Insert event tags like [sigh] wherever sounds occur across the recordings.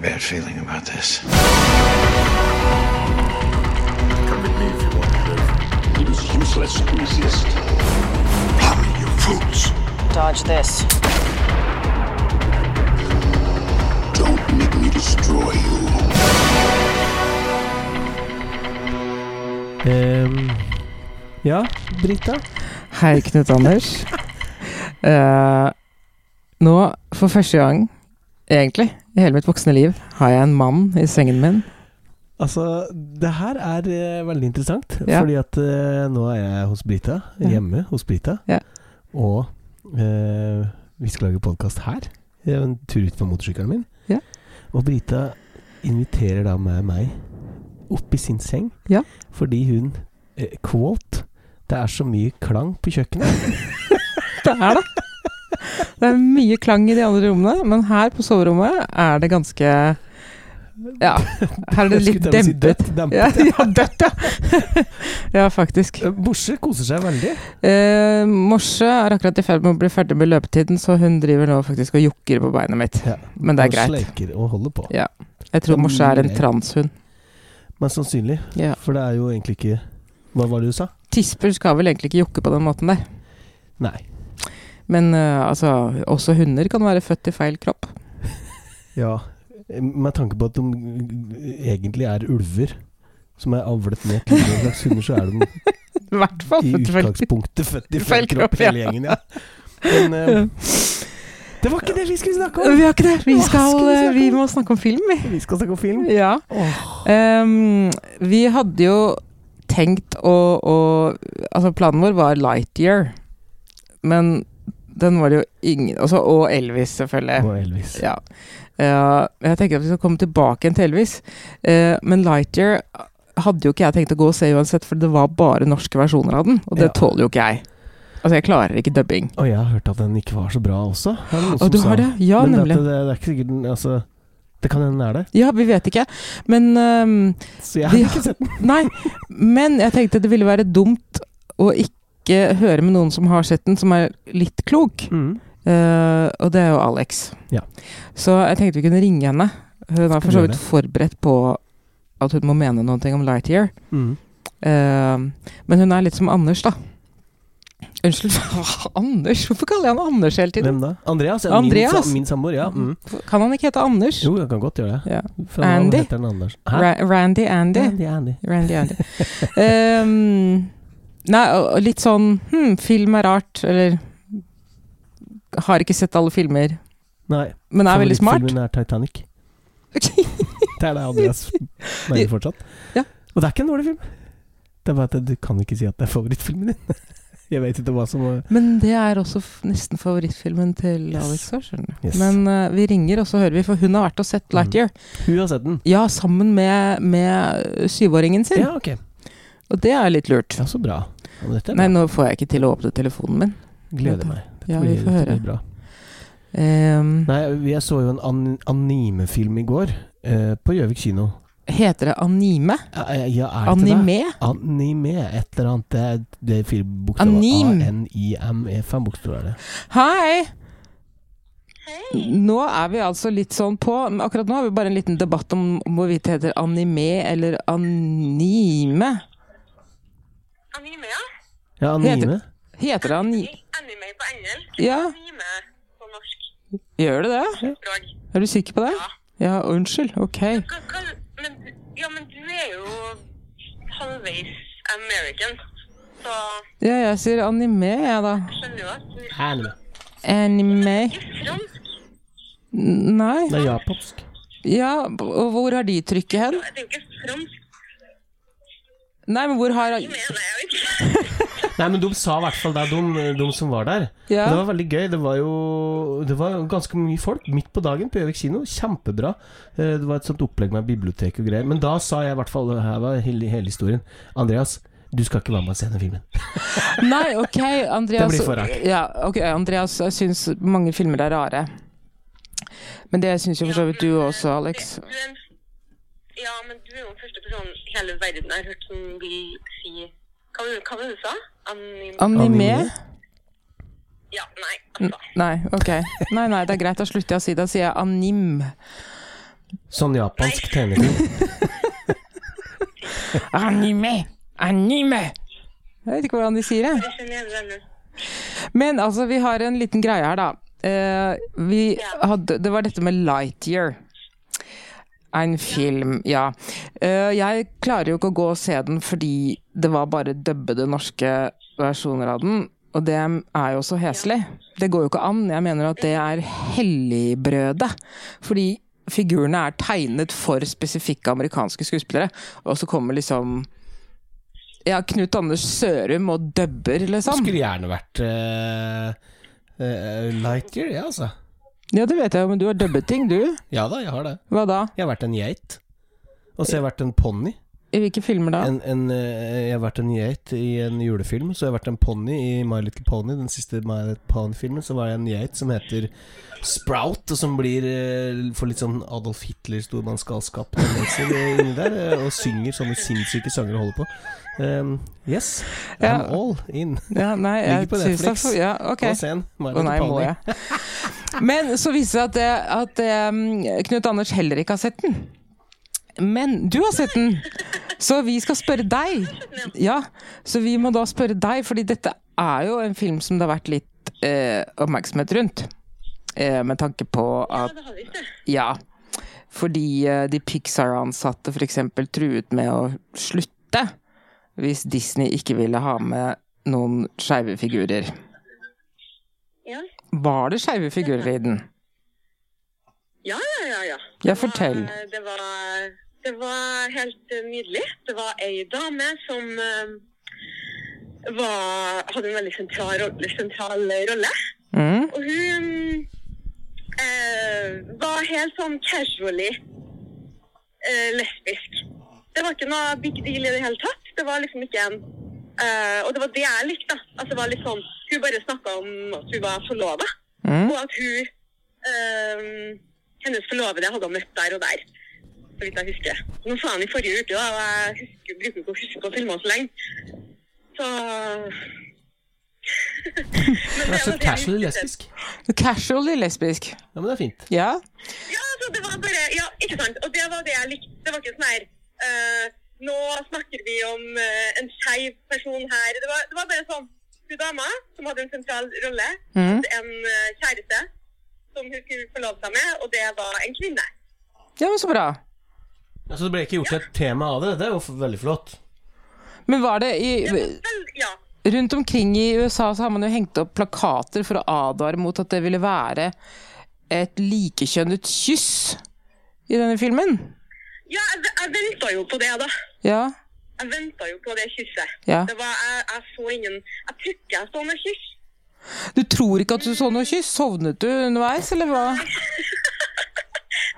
bad feeling about this. Come with me if you want to live. It is useless to resist. Bloody you fools. Dodge this. Don't make me destroy you. Ehm, ja, Brita? Hei, Knut Anders. Eh, nå, for første gang, egentlig, i hele mitt voksne liv, har jeg en mann i sengen min. Altså, det her er eh, veldig interessant, Ja. fordi at eh, nå er jeg hos Brita, Ja. hjemme hos Brita, Ja. og eh, vi skal lage podkast her. Det er jo en tur ut på motorsykkelen min. Ja. Og Brita inviterer da med meg opp i sin seng, Ja. fordi hun eh, Quote Det er så mye klang på kjøkkenet. Det er det! Det er mye klang i de andre rommene, men her på soverommet er det ganske Ja, her er det Jeg [laughs] litt skulle til å si dempet. dødt, dempet. Ja, ja, dødt, ja. Ja, faktisk. Eh, Borse koser seg veldig. Eh, Morse er akkurat i ferd med å bli ferdig med løpetiden, så hun driver nå faktisk og jokker på beinet mitt. Ja. Men det er og greit. Sleiker og holder på. Jeg tror Morse er en transhund. Men sannsynlig, Ja. for det er jo egentlig ikke Hva var det du sa? Tisper skal vel egentlig ikke jokke på den måten der. Nei. Men eh, altså, også hunder kan være født i feil kropp. [laughs] Ja, med tanke på at de egentlig er ulver som er avlet ned til en slags hunder, så er [laughs] de I hvert fall i født i feil kropp. utgangspunktet født i Feil feil kropp, kropp, ja. hele gjengen, ja. Men eh, det var ikke det vi skulle snakke om! Vi har ikke det! Vi, Hva skal, skulle vi snakke eh, vi om? må snakke om film, vi. Vi skal snakke om film. Ja. Ehm, vi hadde jo tenkt å, å Altså, planen vår var Lightyear. Men den var det jo ingen altså, Og Elvis, selvfølgelig. Og Elvis. Ja. Eh, jeg tenker at vi skal komme tilbake igjen til Elvis. Eh, men Lightyear eh, hadde jo ikke jeg tenkt å gå og se uansett, for det var bare norske versjoner av den. Og det Ja. tåler jo ikke jeg. Altså, jeg klarer ikke dubbing. Og jeg har hørt at den ikke var så bra også. Er det noen Og som du sa. har det? Ja, Men nemlig. dette, det, det er ikke sikkert den Altså, det kan hende den er det. Ja, vi vet ikke. Men ehm, Så jeg Vi har har- ikke sett den. Nei. Men jeg tenkte det ville være dumt å ikke høre med noen som har sett den, som er litt klok. Mm. Eh, og det er jo Alex. Ja. Så jeg tenkte vi kunne ringe henne. Hun er for så gjøre vidt det. forberedt på at hun må mene noe om Lightyear. Mm. Eh, men hun er litt som Anders, da. Unnskyld, [laughs] Anders? Hvorfor kaller jeg han Anders hele tiden? Hvem da? Andreas? Ja, Min, Andreas? sa- min samboer, ja. Mm. Kan han ikke hete Anders? Jo, jeg kan godt gjøre det. Ja. For han Andy? heter den Anders. Hæ? Ra Randy Andy? Andy, Andy. Randy Andy. Ehm, nei, og- og litt sånn hm, Film er rart, eller Har ikke sett alle filmer, Nei. men er veldig smart. Favorittfilmen er [laughs] Titanic. Det er det Andreas mener fortsatt. Ja. Og det er ikke en dårlig film. Det er bare at du kan ikke si at det er favorittfilmen din. [laughs] Jeg vet ikke hva som Men det er også f nesten favorittfilmen til Yes. Alex òg, skjønner du. Yes. Mm. Men eh, vi ringer, og så hører vi, for hun har vært og sett Lightyear. Hun har sett den. Ja, sammen med, med eh, syvåringen sin. Ja, ok. Og det er litt lurt. Ja, så bra. Ja, men dette er Nei, bra. nå får jeg ikke til å åpne telefonen min. Gleder meg. Dette Ja, vi blir- får dette høre. blir Bra. Ehm, Nei, jeg så jo en an animefilm i går. eh, på Gjøvik kino. heter det anime? Ja, ja, er det ikke det? Anime? Anime, et eller annet. Det er, det er fire bokstaver. Anim. A-N-I-M-E. E, Fem bokstaver er det. Hei! Nå er vi altså litt sånn på men Akkurat nå har vi bare en liten debatt om, om hvorvidt det heter anime eller anime. Anime, ja. Ja, Heter- anime. Heter det anime? Anime på engelsk. Ja, Anime på norsk gjør det det? språk. Er du sikker på det? Ja, unnskyld. Ok. Hva, hva, men, ja, men du er jo halvveis American, så Ja, jeg sier anime, jeg, da. skjønner jo at du Anime. Anime er fransk. N- Nei. Det er japansk. Ja, og hvor har de trykket hen? Det er jo ikke fransk, Nei, men hvor har mener jeg jo ikke. Nei, men de sa i hvert fall det, de, de som var der. Ja. Og det var veldig gøy. Det var jo det var ganske mye folk midt på dagen på Gjøvik kino. Kjempebra. Eh, Det var et sånt opplegg med bibliotek og greier. Men da sa jeg i hvert fall Her var hele, hele historien. Andreas, du skal ikke være med og se den filmen. Nei, ok, Andreas Det blir for rart. Ja, ok, Andreas syns mange filmer er rare. Men det syns jo for så vidt du også, Alex. Du er en, ja, men du er jo den første personen i hele verden jeg har hørt som vil si Hva var det- hva var det du sa? Anime? Anime? Anime? Ja, nei, altså. Mm. Nei, ok. Nei, nei, det er greit. Da slutter jeg å si det. Da sier jeg anim. Sånn japansk tegnefilm. Anime! Anime! Jeg vet ikke hvordan de sier det. Jeg skjønner jeg hva du mener. Men altså, vi har en liten greie her, da. Eh, vi hadde, det var dette med Lightyear. En film, ja. Eh, jeg klarer jo ikke å gå og se den fordi det var bare dubbede norske versjoner av den. Og det er jo så heslig. Det går jo ikke an. Jeg mener at det er helligbrødet. Fordi figurene er tegnet for spesifikke amerikanske skuespillere. Og så kommer liksom ja, Knut Anders Sørum og dubber, liksom. Skulle gjerne vært eh, eh, Lightyear, jeg, ja, altså. Ja, det vet jeg jo, men du har dubbet ting, du. Ja da, jeg har det. Hva da? Jeg har vært en geit. Og så har jeg vært en ponni. I hvilke filmer da? En, en, eh, jeg har vært en geit i en julefilm. Så jeg har vært en ponni i My Little Pony. Den siste My Little Pony-filmen Så var jeg en geit som heter Sprout, og som blir eh, får litt sånn Adolf [laughs] Hitler-stormannsgalskap tendenser, eh, inni der. eh, Og synger sånne sinnssyke sanger og holder på. Um, yes, Ja. I'm all in. Ja, nei, jeg Ligger på syns Netflix. det er- Ja, ok. Og sen, My Å Little nei, må Pony. jeg. Men så viser det seg at, det, at eh, Knut Anders heller ikke har sett den. Men du har sett den! Så vi skal spørre deg. Ja, Så vi må da spørre deg, fordi dette er jo en film som det har vært litt eh, oppmerksomhet rundt. Eh, med tanke på Ja, at det har vi ikke. Ja, fordi eh, de Pixar-ansatte f.eks. truet med å slutte hvis Disney ikke ville ha med noen skeive figurer. Ja. Var det skeive figurer i den? Ja, ja, ja. Ja, ja. Det var- fortell. Eh, Det var, det var helt eh, nydelig. Det var ei dame som eh, var, hadde en veldig sentral, rolle- sentral rolle. Mm. Og hun eh, var helt sånn casually eh, lesbisk. Det var ikke noe big deal i det hele tatt. Det var liksom ikke en eh, Og det var det jeg likte. da. Altså, det var litt sånn, hun bare snakka om at hun var forlova. Mm. Og at hun eh, Hennes forlovede hadde hun møtt der og der. Så vidt jeg husker. Nå sa han i forrige uke, da, og jeg husker, bruker ikke å huske å filme så lenge. Så [laughs] Men Det er så var det vi casually diskuterte. lesbisk. Casually lesbisk. Ja, men det er fint. Ja. Ja, altså, det var bare Ja, ikke sant. Og det var det jeg likte. Det var ikke sånn her eh, Nå snakker vi om eh, en skeiv person her. Det var, det var bare sånn Hun dama som hadde en sentral rolle, Mhm. hadde en eh, kjæreste som hun skulle forlove seg med, og det var en kvinne. ja, men så bra. Altså, det ble ikke gjort til et tema av det. Det er jo f- veldig flott. Men var det Det i, var vel, ja. Rundt omkring i USA så har man jo hengt opp plakater for å advare mot at det ville være et likekjønnet kyss i denne filmen. ja, jeg, ve- jeg venta jo på det, da. Ja. Jeg venta jo på det kysset. Ja. Det var, jeg, jeg så ingen Jeg tror ikke jeg så noe kyss. Du tror ikke at du så noe kyss? Sovnet du underveis, eller hva?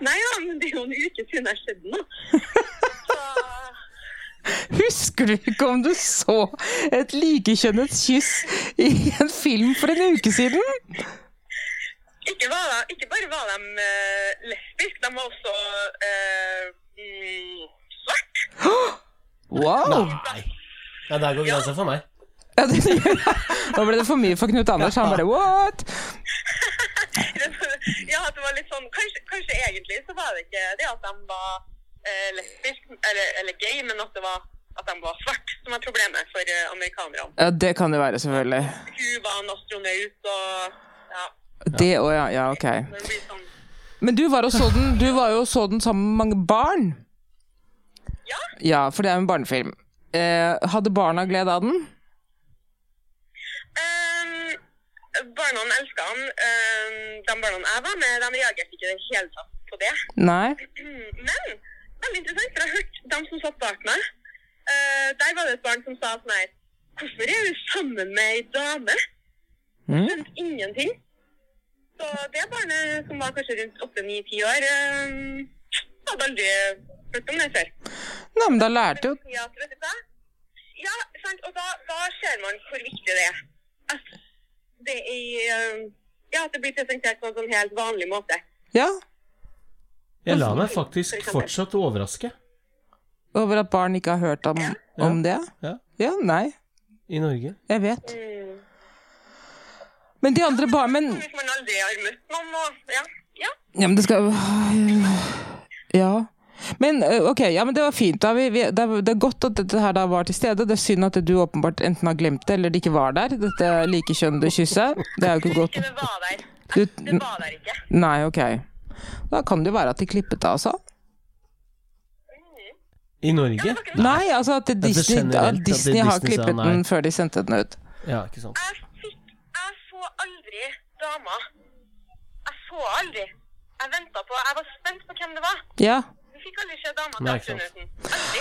Nei da, men det er jo en uke siden jeg skjedde nå. Så Husker du ikke om du så et likekjønnet kyss i en film for en uke siden? Ikke, var de, ikke bare var de uh, lesbiske, de var også eh, mm, [laughs] svart. Wow! Nei. Ja, der går grensa for meg. Ja, det, nå ble det for mye for Knut Anders. Han bare what? ja, at det var litt sånn kanskje, kanskje egentlig så var det ikke det at de var uh, lesbiske eller, eller gay, men at det var at de var svart som var problemet for eh, amerikanerne. Ja, det kan det være, selvfølgelig. Hun var en astronaut og ja, Det òg, ja. ja. Ok. det blir sånn Men du var og så den, du var jo og så den sammen med mange barn. Ja. Ja, for det er jo en barnefilm. Eh, hadde barna glede av den? Ehm, Barna elska han. Ehm, de barna jeg var med, de reagerte ikke i det hele tatt på det. Nei? Mm, Men veldig interessant, for jeg har hørt dem som satt bak meg. eh, der var det et barn som sa sånn her Hvorfor er du sammen med ei dame? Mm. Skjønte ingenting. Så det barnet som var kanskje rundt 8-9-10 år, eh, hadde aldri hørt om det før. Nei, men da lærte jo Ja, vet du hva? Ja, sant, og da, da ser man hvor viktig det er. At det, er eh, ja, at det blir presentert på en sånn helt vanlig måte. Ja. Jeg lar meg faktisk fortsatt overraske Over at barn ikke har hørt om, om det? Ja. Ja, nei. i Norge. Jeg vet. Mm. Men de andre barn... Men, Hvis man aldri har møtt noen og ja, ja. ja, men det skal Ja. Men eh, ok, ja, men det var fint. da. Vi, vi, det, er, det er godt at dette her da var til stede. Det er synd at du åpenbart enten har glemt det, eller det ikke var der. Dette likekjønnede kysset. Det er jo ikke godt. Ikke det var der. Du- Det var der ikke. Nei, ok. Da kan det jo være at de klippet det, altså. I Norge? Nei, altså at Disney, generelt, at at det Disney Disney har sa klippet nei. den før de sendte den ut. Ja, ikke sant. Jeg fikk Jeg så aldri dama. Jeg så aldri. Jeg venta på Jeg var spent på hvem det var. Ja. Vi fikk aldri se dama til Nei, ikke sant. Dagsnytten. Aldri.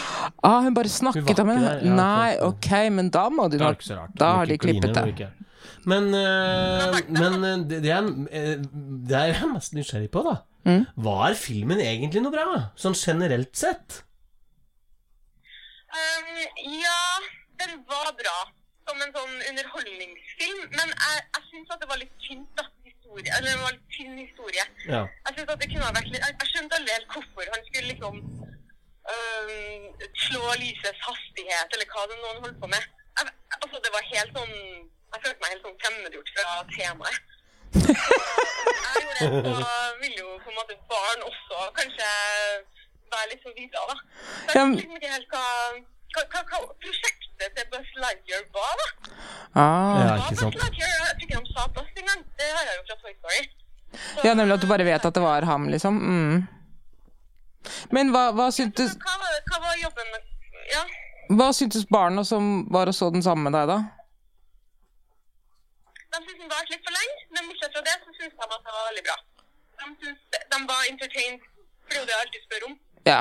Ah, hun bare Hun snakket var om ikke henne. der, ja, Nei, sant. ok, men da må de Det er nok ikke så rart. Da har Ikke de klippet Coline, det. ikke. Men, eh, men eh, det, det, er, eh, det er jeg mest nysgjerrig på, da. Var filmen egentlig noe bra? Sånn generelt sett? Um, ja, den var bra som en sånn underholdningsfilm, men jeg, jeg syns at det var litt tynt, da. Historie. Eller det var litt tynn historie. Ja. Jeg synes at det kunne ha vært litt Jeg, jeg skjønte aldri helt hvorfor han skulle liksom øhm, slå lysets hastighet, eller hva det noen holdt på med. Jeg, altså, det var helt sånn Jeg følte meg helt sånn fremmedgjort fra temaet. Jeg gjorde det, så vil jo på en måte barn også kanskje være litt sånn videre, da. Så jeg Ja, men- vet liksom ikke helt hva, hva, hva, hva prosjektet til Buzz Lightyear var, da. Ah. Ja, Hva ikke Buzz sant. Lightyear? Jeg tror ikke de sa Buzz engang. Det har jeg jo fra Toy Story. Så- Ja, nemlig at du bare vet at det var ham, liksom. Mm. Men hva, hva, syntes, Hva, var- hva var jobben med Ja. hva syntes barna som var og så den samme med deg, da? De syntes den var litt for lenge, men bortsett fra det så syntes de at det var veldig bra. De, syntes, de var entertained, for det er jo det jeg alltid spør om. Ja.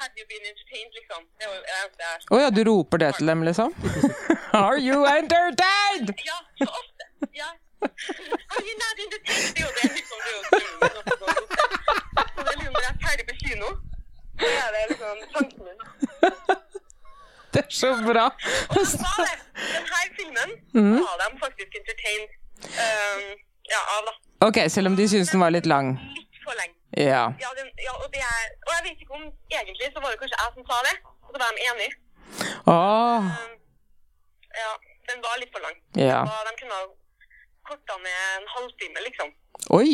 Have you been entertained, liksom? Det er jo det eneste jeg Å ja, du roper det til dem, liksom? [laughs] Are you entertained? Ja, så ofte. Ja. Are you not entertained? Det er jo det liksom det er jo drømmen om å gå ut. Så det er liksom når jeg er ferdig på kino, så er det liksom tanken min. Det er så bra. Hva er det? Den her filmen Mm. var de faktisk entertained um, ja, av, da. Ok, selv om de syntes den var litt lang. Litt for lenge. Ja. Ja, den, ja og, det er, og jeg vet ikke om egentlig så var det kanskje jeg som sa det, og så var de enige. Åh, Um, ja, den var litt for lang. Ja. Og de kunne ha korta ned en halvtime, liksom. Oi.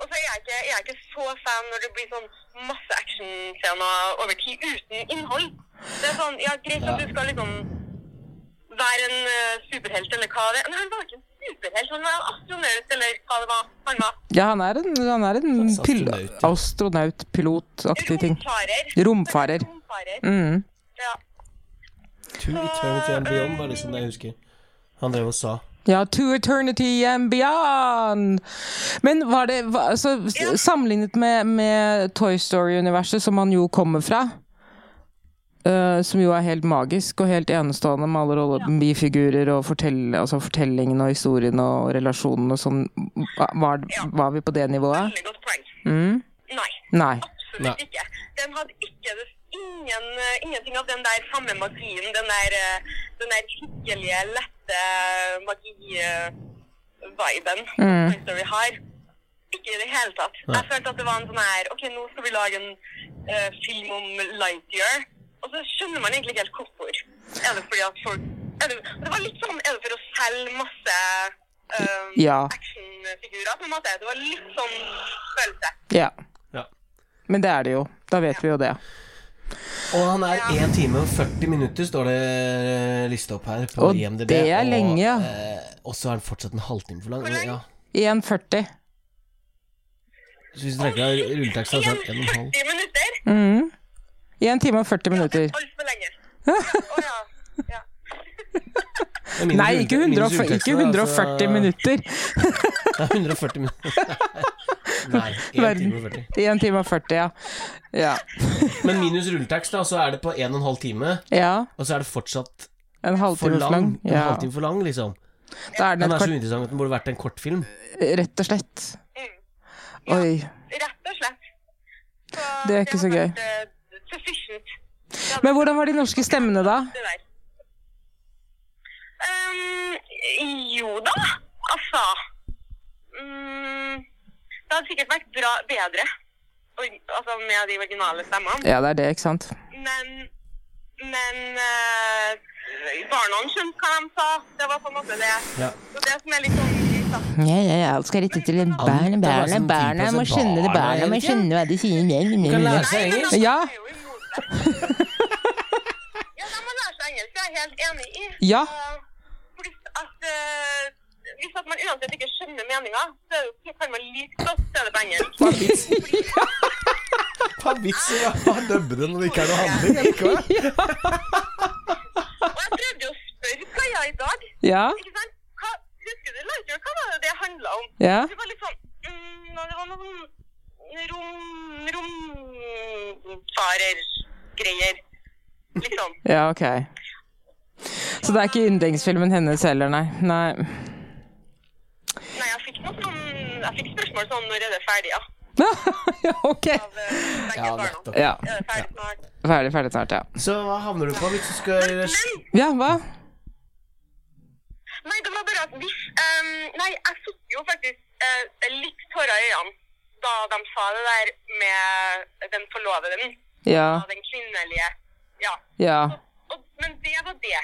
Og så er jeg, ikke, er jeg ikke så fan når det blir sånn masse actionscener over tid uten innhold. Det er sånn, ja, greit at du skal liksom være en eh, superhelt eller hva det er. Men han var ikke en superhelt, han var en astronaut eller hva det var. Han var Ja, han er en, han er en pil Astronaut, ja. astronaut, pilotaktig ting. romfarer. Romfarer. Romfarer, Mm. ja. To Eternity and Beyond var liksom det jeg husker. Han drev og sa. Ja, to eternity and beyond! Men var det hva- altså, s- Sammenlignet med, med Toy Story-universet, som han jo kommer fra, eh, som jo er helt magisk og helt enestående med alle rolle- bifigurer og fortell, altså fortellingen og historien og relasjonene og sånn, hva- var, var vi på det nivået? Veldig godt poeng. Mm. Nei, Nei. absolutt Nei. ikke. Den hadde ikke det, ingen, eh, ingenting av den der samme magien, den der, eh, den der hyggelige, lette magi-viben Mm. som Toy Story har. Ikke i det hele tatt. Jeg følte at det var en sånn her OK, nå skal vi lage en eh, film om Lightyear. Og så skjønner man egentlig ikke helt hvorfor. Er det fordi at folk er det, det var litt sånn Er det for å selge masse eh, Ja. actionfigurer, på en måte? Det var litt sånn følelse. Ja. Ja. Men det er det jo. Da vet vi jo det. Og han er 1 time og 40 minutter, står det eh, lista opp her på Og IMDb. det er lenge, ja. Og, eh, og så er han fortsatt en halvtime for lang. Hvor lenge? Ja. 1,40. Så hvis du trekker av rulletaksa, så er det 1,5. 40 minutter? 1 time og 40 minutter. Altfor lenge. [laughs] Å ja. ja. Nei, ikke, 140 ikke 140 minutter. Nei, 140 minutter. [laughs] Nei, 1 Verden. time og 40. 1 time og 40, ja. Ja. Men minus rulletekst, da, så er det på 1 12 time, ja. og så er det fortsatt En for halvtime for lang. lang. En Ja. halvtime for lang, liksom. Da er den Den et er så kvart, interessant at den burde vært en kortfilm. rett og slett. Mm. Oi. Rett og slett. Så Det er ikke så har gøy. vært, eh, sufficient, Men hvordan var de norske stemmene da? det der. Ehm, jo da, altså. Mm, det hadde sikkert vært bra, bedre og- altså med de originale stemmene. Ja, det er det, ikke sant? Men, men eh, barna skjønte hva de sa. Det var på en måte det. Ja. Og det som er litt sånn [laughs] Ja, ja, ja. Alt skal rette til en barn, Alt er bare barn, sånn barn. Jeg må 10% skjønne det, barn, barn. Jeg hele må tiden. skjønne hva de sier. Nei, nei, nei, Kan nei. lære seg engelsk. Ja, Det altså, er jo imot det. ja, da må lære seg engelsk, det er jeg helt enig i. Ja. Eh, Pluss at eh, hvis at man uansett ikke skjønner meninga, så er det jo- kan man like godt se det på engelsk. Hva er vitsen? Hva er vitsen med å dubbe det når det ikke er noe handling? likevel? Og jeg prøvde jo å spørre Kaja i dag, [laughs] ja, ikke sant? Hva, husker du Lightyear, hva var det det handla om? ja. Det var litt sånn mm, ja, Det var noen rom... romfarergreier, liksom. Ja, ok. Så det er ikke yndlingsfilmen hennes heller, nei. nei. [laughs] Nei, jeg fikk noe sånn Jeg fikk spørsmål sånn Når er det ferdig, ja? ja, ok. Av eh, begge Ja, barna. nettopp. Ja, Er det ferdig snart? Ferdig, ferdig snart, ja. Så hva havner du på hvis du skal Ja, hva? Nei, det var bare at hvis ehm, Nei, jeg fikk jo faktisk eh, litt tårer i øynene da de sa det der med den forloveden Ja, av den kvinnelige Ja. ja, Og, men det var det.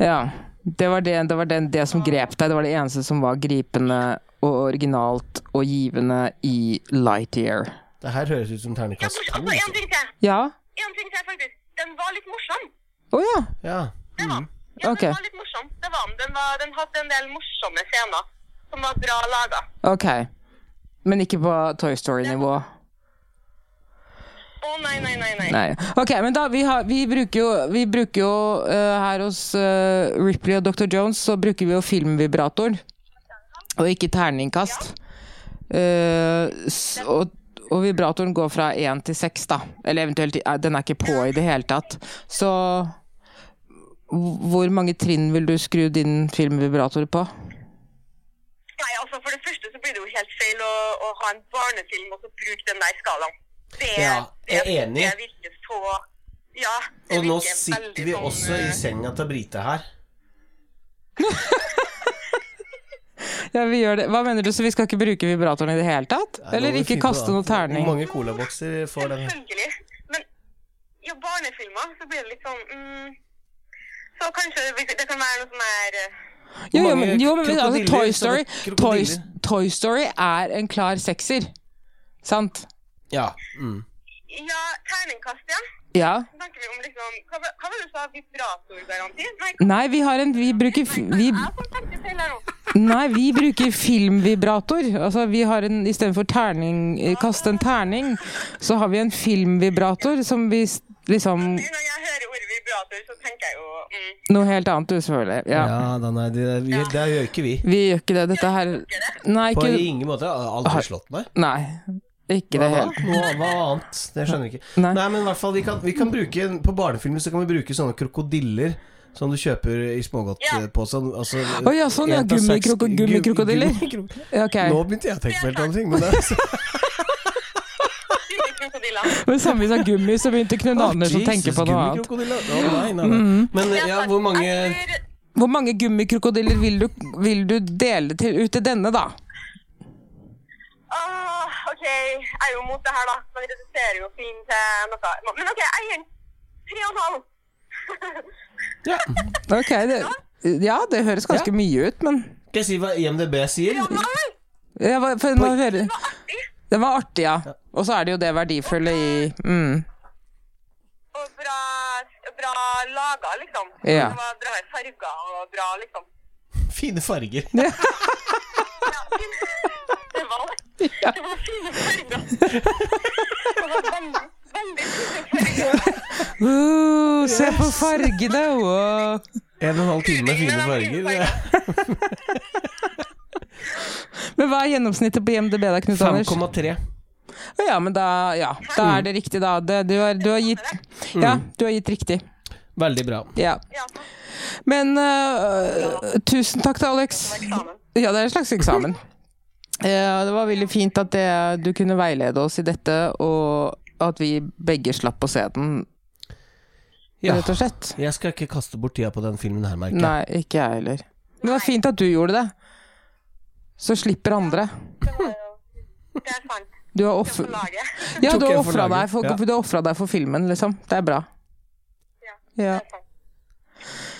ja. Det var det, det, var det, det som grep deg. Det var det eneste som var gripende og originalt og givende i Lightyear. Det her høres ut som Ja, terningkast bortsett- to. og så altså, liksom. en ting til. Ja? En ting til, faktisk. Den var litt morsom. Å ja. Ja. Det var den. Ja, Ok. den var litt morsom. Det var den. Den, var, den hadde en del morsomme scener som var bra laga. Ok. Men ikke på Toy Story-nivå. Å nei, nei, nei, nei. Nei. Ok, men da, vi, har, vi bruker jo, vi bruker jo eh, her hos eh, Ripley og Dr. Jones, så bruker vi jo filmvibrator, og ikke terningkast. Eh, s- og, og vibratoren går fra én til seks, da. Eller eventuelt, eh, den er ikke på i det hele tatt. Så h- hvor mange trinn vil du skru din filmvibrator på? Nei, altså For det første så blir det jo helt feil å, å ha en barnefilm og så bruke den der skalaen. Det, Ja, jeg er det- enig. Det virker så Ja. det Og nå virker veldig sitter vi sånn, også i eh, senga til Brite her. Ja, vi gjør det. Hva mener du, så vi skal ikke bruke vibratoren i det hele tatt? Nei, nå må Eller vi ikke finne på kaste noe annet. Hvor terning? mange colabokser får den? her? Selvfølgelig. Men ja, barnefilmer så blir det litt sånn mm, Så kanskje det, blir- det kan være noe sånn her eh, Jo, jo, mange men, jo, men altså, krokodiller Toy som Story, er Toy, krokodiller? Toy Story er en klar sekser. Sant? Ja. Mm. Ja, terningkast, ja. Ja. Så tenker vi om liksom Hva, var- hva var det du sa? Vibratorgaranti? Nei, Nei, vi har en Vi bruker fi- vi, jeg har fått tenke feil her nå. Nei, vi bruker filmvibrator. Altså, vi har en Istedenfor terning eh, Kaste en terning, så har vi en filmvibrator som vi s- liksom Når jeg hører ordet vibrator, så tenker jeg jo mm, Noe helt annet, du, selvfølgelig. Ja. Ja, da, nei, det, vi, det gjør ikke vi. Vi gjør ikke det. Dette her Nei, På ikke ingen måte. Jeg har Aldri slått meg. Nei. Ikke det Hva, helt. da? Noe, hva annet? Det skjønner jeg ikke. Nei. Nei, men i hvert fall, vi kan, vi kan bruke På barnefilmer så kan vi bruke sånne krokodiller som du kjøper i smågodtposen. Altså, Å ja, sånn, en ja. av seks- Gummikroko- Gummikrokodiller. gummikrok- Ja, Ok. Nå begynte jeg å tenke på helt andre ting. [laughs] Men det er så, Lille krokodiller. Men samme som gummi, så begynte Knut Anders å tenke på noe annet. Mm. gummikrokodiller. Å, nei, nei, nei. Men ja, hvor mange Jeg tror- Hvor mange gummikrokodiller vil du, vil du dele til, ut til denne, da? Åh, OK, jeg er jo mot det her, da. Man reduserer jo film til noe. Men OK, jeg gir den tre og en halv. ja. Ok, det, Ja, det høres ganske Ja. mye ut, men Skal jeg si hva IMDb sier? Og en halv? ja, hva- for nå hører, Det var artig. Den var artig, ja. Og så er det jo det verdifulle i mm, Og bra, bra laga, liksom. Ja. Det var bra farger og bra, liksom. Fine farger. Det var det. Det var fine farger. Det var veldig, veldig fine farger. Ooh, Uh, Se på fargene! Wow. En og en halv time med fine farger. Det er Men hva er gjennomsnittet på IMDb da, Knut Anders? 5,3. Å Ja, men da, ja, da er det riktig, da. Det, du, har, du har gitt Ja, du har gitt riktig. Veldig bra. Ja. Ja, Men øh, tusen takk til Alex. eksamen. Ja, det er en slags [laughs] eksamen. Eh, det var veldig fint at det, du kunne veilede oss i dette, og at vi begge slapp å se den, Ja. rett og slett. Jeg skal ikke kaste bort tida på den filmen her, merker jeg. Nei, ikke jeg heller. Men det var fint at du gjorde det. Så slipper andre. Det var jo Det er sant. Du har Det er off- på laget. ja, Tok du har en for ofra laget, deg, for- ja. du har offret deg for filmen, liksom. Det er bra. Ja. Ja.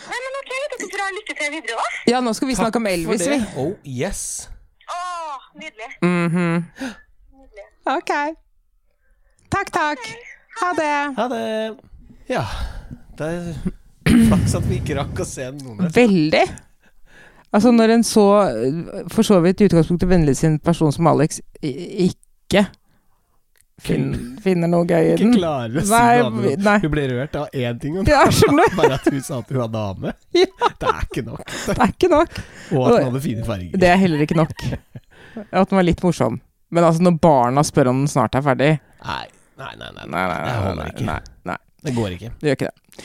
Nei, men OK, det du tror jeg lytter til videre, da? Ja, nå skal vi snakke om for Elvis, det. vi. Oh, yes. Åh, nydelig. Mhm. Ok. Takk, takk. Ha det. Ha det. Ja. Det er flaks at vi ikke rakk å se noen der. Veldig. Altså, når en så øh, for så vidt i utgangspunktet vennlig sin person som Alex i- ikke fin, finner noe gøy i Ikke den klarer å si Nei, dame. nei. Hun ble rørt av én ting, og [laughs] Ja, skjønner du? bare at hun sa at hun var dame. [laughs] Ja. Det er ikke nok. Det er ikke nok. Og at hun hadde fine farger. Det er heller ikke nok. At den var litt morsom. Men altså, når barna spør om den snart er ferdig Nei, nei, nei. nei, Nei, nei, Det nei. holder nei, ikke. nei, nei. Det går ikke. Det gjør ikke det.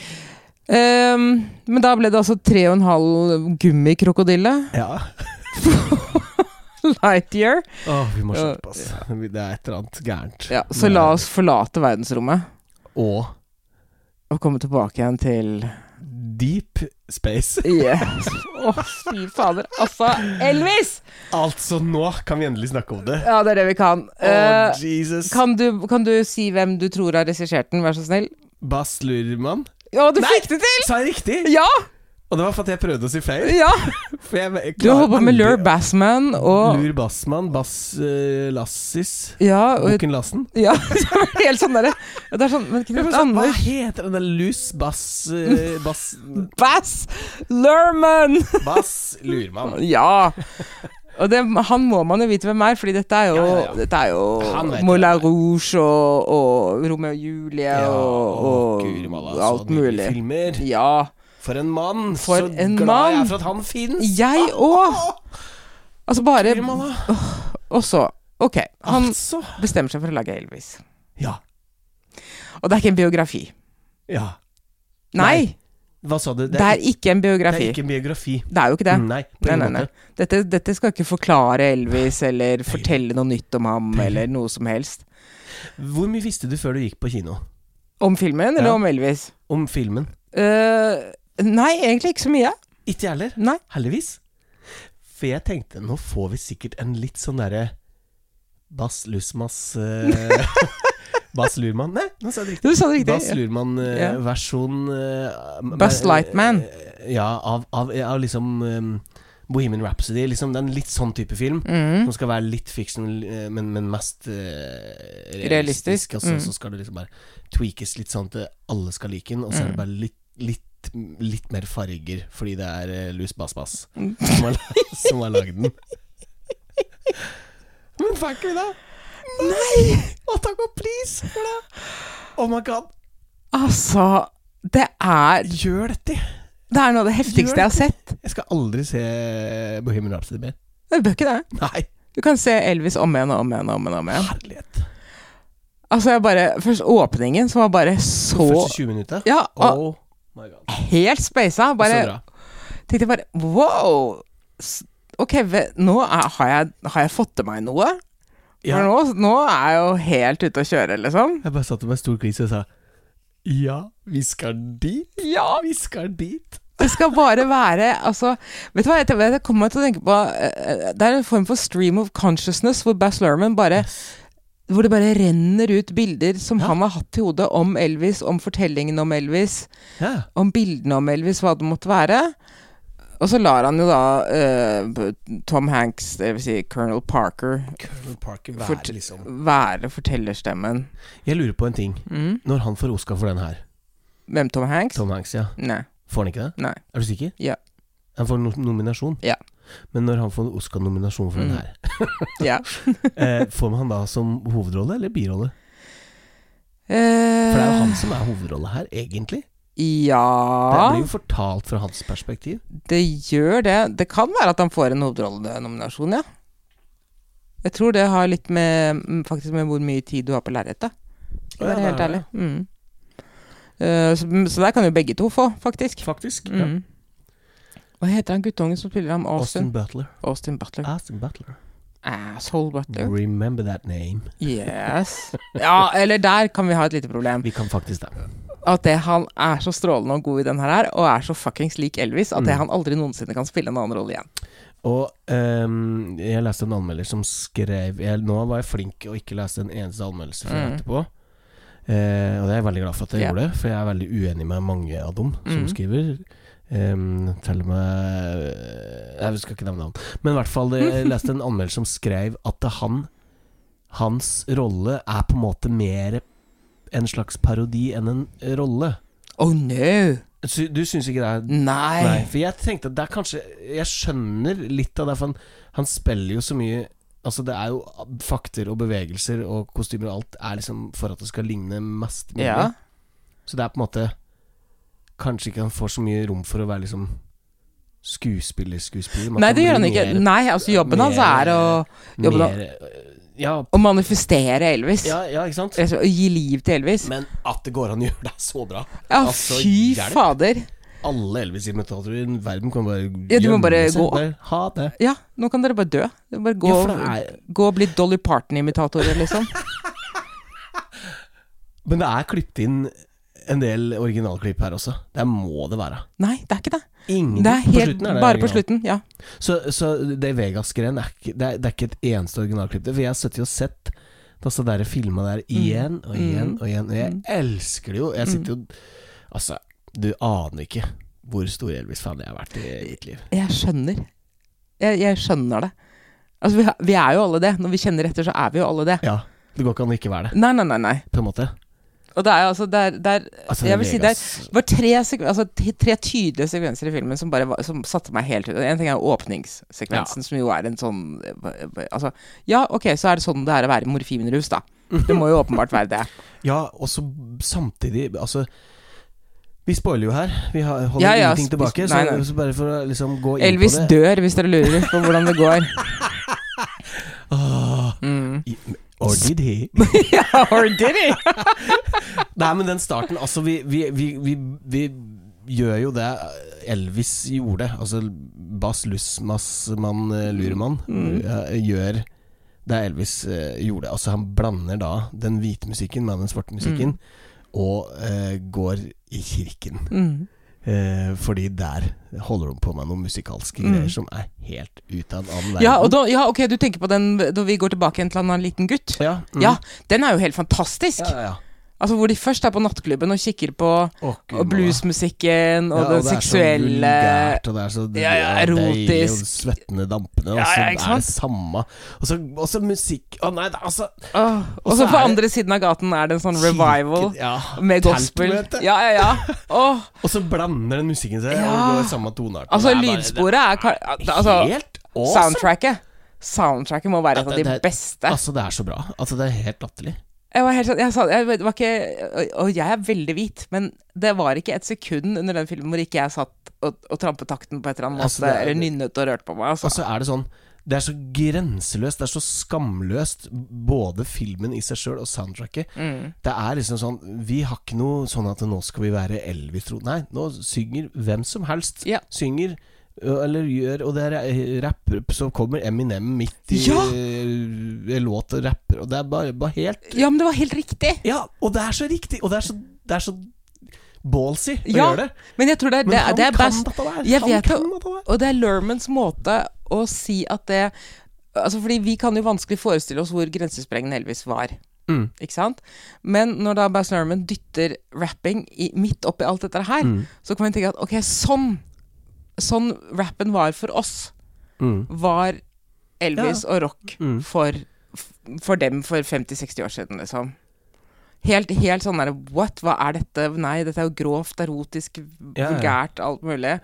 Ehm, men da ble det altså tre og en halv gummikrokodille. [laughs] Ja. Lightyear. Åh, vi må Ja. slutte, ass. Det er et eller annet gærent. Ja, så la oss forlate verdensrommet Og og komme tilbake igjen til deep space. Yes. Å, fy fader. Altså, Elvis! Altså, nå kan vi endelig snakke om det. Ja, det er det vi kan. Å, Eh, Jesus. kan, du, kan du si hvem du tror har regissert den, vær så snill? Bass Lurman. Ja, du Nei! fikk det til! Sa jeg riktig? Ja! Og det var for at jeg prøvde å si feil. ja For jeg, jeg Du klarer holdt på med aldri- Lure Bassman og Lur Bassman, Bass eh, Lassis, Ja, og, Bukken Lassen. ja [laughs] det var helt sånn derre Det er sånn Men Knut Hva Anders heter den der lus Bass eh, [laughs] Bass Bass Lerman! Bass Lurman? Ja! Og det, han må man jo vite hvem er, Fordi dette er jo, Ja, ja, ja. Dette er Han vet jo hvem Moulin det er. Rouge og, og Romeo og Julie Ja, og, og og Guri malla, så alt nydelige mulig. Filmer. Ja. For en mann! For så en glad jeg mann. er for at han fins! Jeg òg! Altså bare Ja, Og så Ok. Han altså. bestemmer seg for å lage Elvis. Ja. Og det er ikke en biografi. ja. Nei! Hva sa du? Det er ikke en det er biografi. ikke en biografi. Det er jo ikke det. Nei, på Nei, ingen nei, nei. måte. Dette, dette skal ikke forklare Elvis eller fortelle noe nytt om ham eller noe som helst. Hvor mye visste du før du gikk på kino? Om filmen Ja. eller om Elvis? Om filmen? Eh, nei, egentlig ikke så mye. Ikke jeg heller. Nei. Heldigvis. For jeg tenkte, nå får vi sikkert en litt sånn derre Bass Lusmas eh, [laughs] Bass Lurman Nei, nå sa jeg det riktig. Du sa det Bass riktig. Ja. Lurman-versjon Buzz Lightman. Ja, av, av, av liksom eh, Bohemian Rhapsody. Liksom, det er en litt sånn type film. Mm. Som skal være litt fiction, eh, men, men mest eh, Realistisk, mm. realistisk. Og så, så skal det liksom bare tweakes litt sånn at alle skal like den, og så er Mm. det bare litt, litt, litt mer farger fordi det er eh, Lus Bass Bass Mm. som har, la- [laughs] som har lagd den. Men fikk vi det? Nei! Og takk og pris for det! Oh my god, Altså, det er gjør dette! Det er noe av det heftigste jeg har sett. Jeg skal aldri se Bohemian Rhapsody mer. Det bør ikke det. Nei, Du kan se Elvis om igjen og om igjen og om igjen. og om igjen. herlighet. Altså, jeg bare Først åpningen, som var bare så Første 20 minutter. Ja, og Oh my god. helt speisa. Så Bare bra. tenkte jeg bare Wow! S- Ok, ve- nå er, har, jeg, har jeg fått til meg noe? Ja. For nå, nå er jeg jo helt ute å kjøre, liksom. Jeg bare satte meg en stor klis og sa Ja, vi skal dit. Ja! Vi skal dit. Det skal bare være altså, Vet du hva, jeg, jeg kommer til å tenke på eh, Det er en form for stream of consciousness hvor Bass Lerman bare Hvor det bare renner ut bilder som han har hatt i hodet om Elvis, om fortellingen om Elvis, Ja. om bildene om Elvis, hva det måtte være. Og så lar han jo da eh, Tom Hanks, det vil si Colonel Parker, Colonel Parker vær, fort liksom. være fortellerstemmen. Jeg lurer på en ting. Når han får Oscar for den her, Hvem Tom Hanks? Tom Hanks, ja. Nei. Får han ikke det? Nei. Er du sikker? Ja. Han får no nominasjon. Ja. Mm. Men når han får Oscar-nominasjon for den her, ja. eh, får man han da som hovedrolle eller birolle? For det er jo Eh, han som er hovedrolle her, egentlig. Det ja blir jo fortalt fra hans perspektiv. Det gjør det. Det kan være at han får en hovedrollenominasjon, ja. Jeg tror det har litt med mm, Faktisk med hvor mye tid du har på lerretet. Skal Ja, jeg være det helt er ærlig. Mm. Eh, så, så der kan jo begge to få, faktisk. Faktisk. Ja. Mm. Hva heter han guttungen som spiller ham? Austin Austin, Ah. Butler. Austin Butler. Austin Butler. Asshole Butler. Remember that name. Yes. Ja, eller der kan vi ha et lite problem. Vi kan faktisk det. At det han er så strålende og god i den her, er, og er så fuckings lik Elvis, Mm. at det han aldri noensinne kan spille en annen rolle igjen. Og ehm, jeg leste en anmelder som skrev jeg, Nå var jeg flink og ikke leste en eneste anmeldelse før etterpå. Eh, og det er jeg veldig glad for at jeg Ja. gjorde, for jeg er veldig uenig med mange av dem som Mm. skriver. Um, til og med eh, Jeg skal ikke nevne han. Men i hvert fall, jeg leste en anmelder som skrev at han hans rolle er på en måte mer en slags parodi enn en rolle. Oh no! Sy- Du syns ikke det er Nei! Nei, for jeg tenkte at det er kanskje Jeg skjønner litt av det, for han, han spiller jo så mye Altså Det er jo fakter og bevegelser og kostymer og alt er liksom for at det skal ligne mest mulig. Ja. Så det er på en måte Kanskje ikke han får så mye rom for å være liksom skuespiller-skuespiller. men Nei, at det gjør han blir ikke. mer- Nei, altså Jobben hans er å, jobben mer, øh, han- ja, å manifestere Elvis. ja, ja, ikke sant? Rett og slett, Å gi liv til Elvis. Men at det går an å gjøre det er så bra. Ja, Altså, fy hjelp. fader. Alle Elvis-imitatorer i verden kan bare Ja, de må gjemme bare seg. gå. Bare Ha det. Ja, nå kan dere bare dø. Dere Bare gå, Ja, for det er- gå og bli Dolly Parton-imitatorer, [laughs] liksom. Men det er klippet inn en del originalklipp her også. Der må det være. Nei, det er ikke det. Ingen Det er på helt, slutten er det bare på original. slutten. Ja. Så, så det Vegas-greien er, ikke- det er, det er ikke et eneste originalklipp. der, For jeg har sittet og sett disse der filma der Mm. igjen og igjen og igjen. Og jeg elsker det jo. Jeg sitter jo Altså, du aner ikke hvor stor Elvis-fan jeg har vært i mitt liv. Jeg skjønner. Jeg, jeg skjønner det. Altså, vi, har- vi er jo alle det. Når vi kjenner etter, så er vi jo alle det. Ja, Det går ikke an å ikke være det, Nei, nei, nei. nei. på en måte. Og det er jo altså Det er, det er Altså, Jeg vil si det Vegas- er- var tre, sekven- altså, t- tre tydelige sekvenser i filmen som bare var, som satte meg helt ut. En ting er jo åpningssekvensen, som jo er en sånn eh, Altså, ja, ok, så er det sånn det er å være morfinrus, da. Det må jo åpenbart [laughs] være det. Ja, og så samtidig Altså vi spoiler jo her. Vi har, holder Ja, ja, ingenting vi- tilbake. nei, nei. Så, så bare for å liksom gå inn Elvis på det dør, hvis dere lurer på hvordan [laughs] det går. Mm. Or did he? [laughs] ja, or did he? Nei, men den starten Altså, vi, vi, vi, vi, vi gjør jo det Elvis gjorde. Altså, Bass Lussmassmann eh, Luremann Mm. eh, gjør det Elvis eh, gjorde. Altså, han blander da den hvite musikken med den svarte musikken, Mm. og eh, går i kirken. Mm. Eh, fordi der holder de på med noen musikalske greier som er helt ut av all verden. Mm. Ja, og da, ja, ok, du tenker på den da vi går tilbake igjen til han er en liten gutt? Ja, mm. Ja, den er jo helt fantastisk. ja, ja. Altså Hvor de først er på nattklubben og kikker på Å, Gud, og bluesmusikken og Ja, den det er så seksuelle vulgært, og det er så Ja, ja, det er deilig, erotisk. og Svettende dampene, og Ja, så er ja, ikke det sant? samme. Og så, og så musikk Å nei, det, er altså Åh, Og så så på er det- andre siden av gaten er det en sånn revival Kirken, ja, med gospel. teltmøte. Ja, ja, ja. Åh, Og så blander den musikken seg, og Ja. det går i samme toneart. Det altså, er bare- lydsporet er ka- det er Altså, Helt awesome. soundtracket. Soundtracket må være et av Det- de det- beste. Altså, det er så bra. Altså, det er helt latterlig. Jeg var helt sånn jeg, sa, jeg var ikke og- Og jeg er veldig hvit, men det var ikke et sekund under den filmen hvor ikke jeg satt og, og trampet takten på et eller annet Altså, måte, det er- eller nynnet og rørt på meg. Altså. Og så er det sånn Det er så grenseløst, det er så skamløst, både filmen i seg sjøl og soundtracket. Mm. Det er liksom sånn Vi har ikke noe sånn at nå skal vi være Elvis, tro Nei, nå synger hvem som helst. Ja. Synger ø, eller gjør Og det er eh, rapper, så kommer Eminem midt i Ja! eh, låt og rapper, og det er bare, bare helt Ja, men det var helt riktig! Ja, og det er så riktig! Og det er så, det er så ballsy å Ja, gjøre det. men jeg tror det er, Men det, er- han det er kan best dette der. Jeg Han vet kan det, dette der. og det er Lermans måte å si at det Altså fordi vi kan jo vanskelig forestille oss hvor grensesprengende Elvis var. Mm. Ikke sant? Men når da Bass Lerman dytter rapping i, midt oppi alt dette her, Mm. så kan man tenke at ok, sånn Sånn rappen var for oss, Mm. var Elvis og rock Mm. for, for dem for 50-60 år siden, liksom. Helt, helt sånn der What? Hva er dette? Nei, dette er jo grovt, erotisk, Ja, ja. vulgært, alt mulig.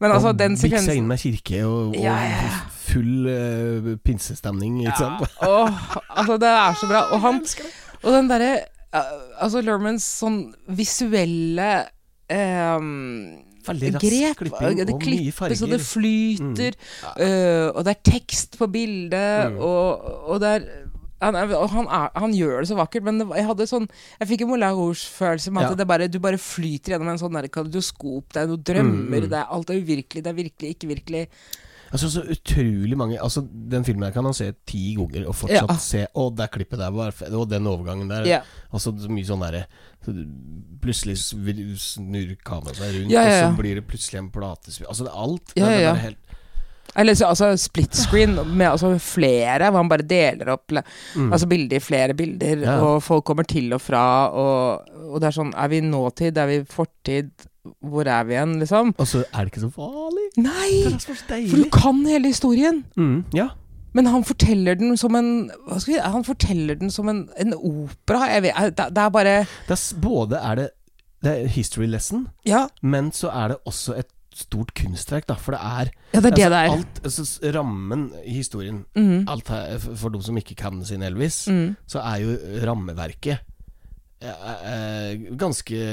Men altså, den Miksa sekvensen inn med kirke og, og Ja, ja, ja. full eh, pinsestemning, ikke sant? [laughs] Åh, altså det er så bra. Og han Og den derre eh, Altså Lermans sånn visuelle ehm, Veldig rask grep. klipping det og mye klipper så det farger. flyter, Mm. eh, og det er tekst på bildet, og, og det er han, er, og han, er, han gjør det så vakkert, men det, var- jeg hadde sånn Jeg fikk en Moulin Rouge-følelse med at Ja. det bare, du bare flyter gjennom en sånn der kaleidoskop. Det er noen drømmer, Mm. det er, alt er uvirkelig, det er virkelig, ikke virkelig. Altså så utrolig mange Altså Den filmen her kan han se ti ganger og fortsatt Ja. se Å, det klippet der var fett, og den overgangen der. Ja. Altså så mye sånn derre så du- Plutselig svir- snur kameraet seg rundt, Ja, ja, og ja. så blir det plutselig en platespill Altså det er alt. Ja, det, er ja, ja. bare helt, Eller så, altså split screen med altså, flere, hvor han bare deler opp le- altså, bilder i flere bilder, Ja. og folk kommer til og fra, og, og det er sånn Er vi i nåtid? Er vi i fortid? Hvor er vi igjen, liksom? Og så er det ikke så farlig. Det Nei! er så For du deilig. kan hele historien! Mm, ja. Men han forteller den som en hva skal vi, Han forteller den som en, en opera. Jeg vet, eh, det, det er bare Det er, s- både er det, det er history lesson, Ja, men så er det også et stort kunstverk, da. For det er ja det er det det altså, er. Mhm. Alt, altså, s- rammen i historien alt her, f- For de som ikke kan sin Elvis, så er jo rammeverket eh, eh, ganske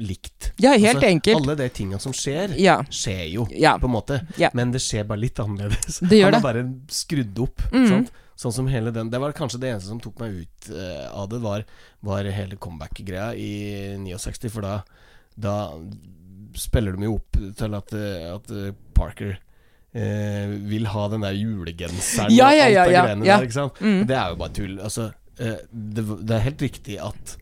likt. Altså, Ja, helt enkelt. Alle de tinga som skjer, Ja. skjer jo, Ja. på en måte. Ja. Men det skjer bare litt annerledes. Det Mm. gjør Han har bare skrudd opp. Sant? Sånn som hele den Det var kanskje det eneste som tok meg ut eh, av det, var, var hele comeback-greia i 69, for da, da spiller de jo opp til at, eh, at eh, Parker eh, vil ha den der julegenseren Ja, ja, og ja, alt det ja, greiene ja. Mm. der, ikke sant? Det er jo bare tull. Altså, eh, det, v- det er helt riktig at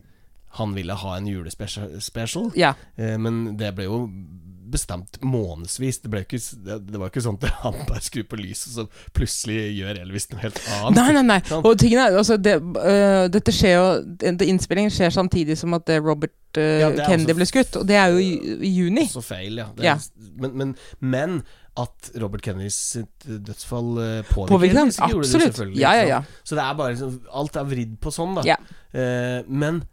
han ville ha en julespecial, special, Ja. eh, men det ble jo bestemt månedsvis. Det, ble jo ikke, s- det, det var ikke sånn at han bare skrur på lyset, så plutselig gjør Elvis noe helt annet. Nei, nei, nei. Sant? Og tingen er, altså, det, øh, dette skjer jo det, Innspillingen skjer samtidig som at eh, Robert øh, Ja, det er Kennedy også- ble skutt, og det er jo i, i juni. Også feil, ja. Det, Ja. er- Men, men, men at Robert Kennedys sitt dødsfall eh, Påvirker påvirker ham, Elvis, det gjorde det absolutt. selvfølgelig, Ja, ja, ikke sant? Så det er bare liksom- Alt er vridd på sånn, da. Ja. Eh, men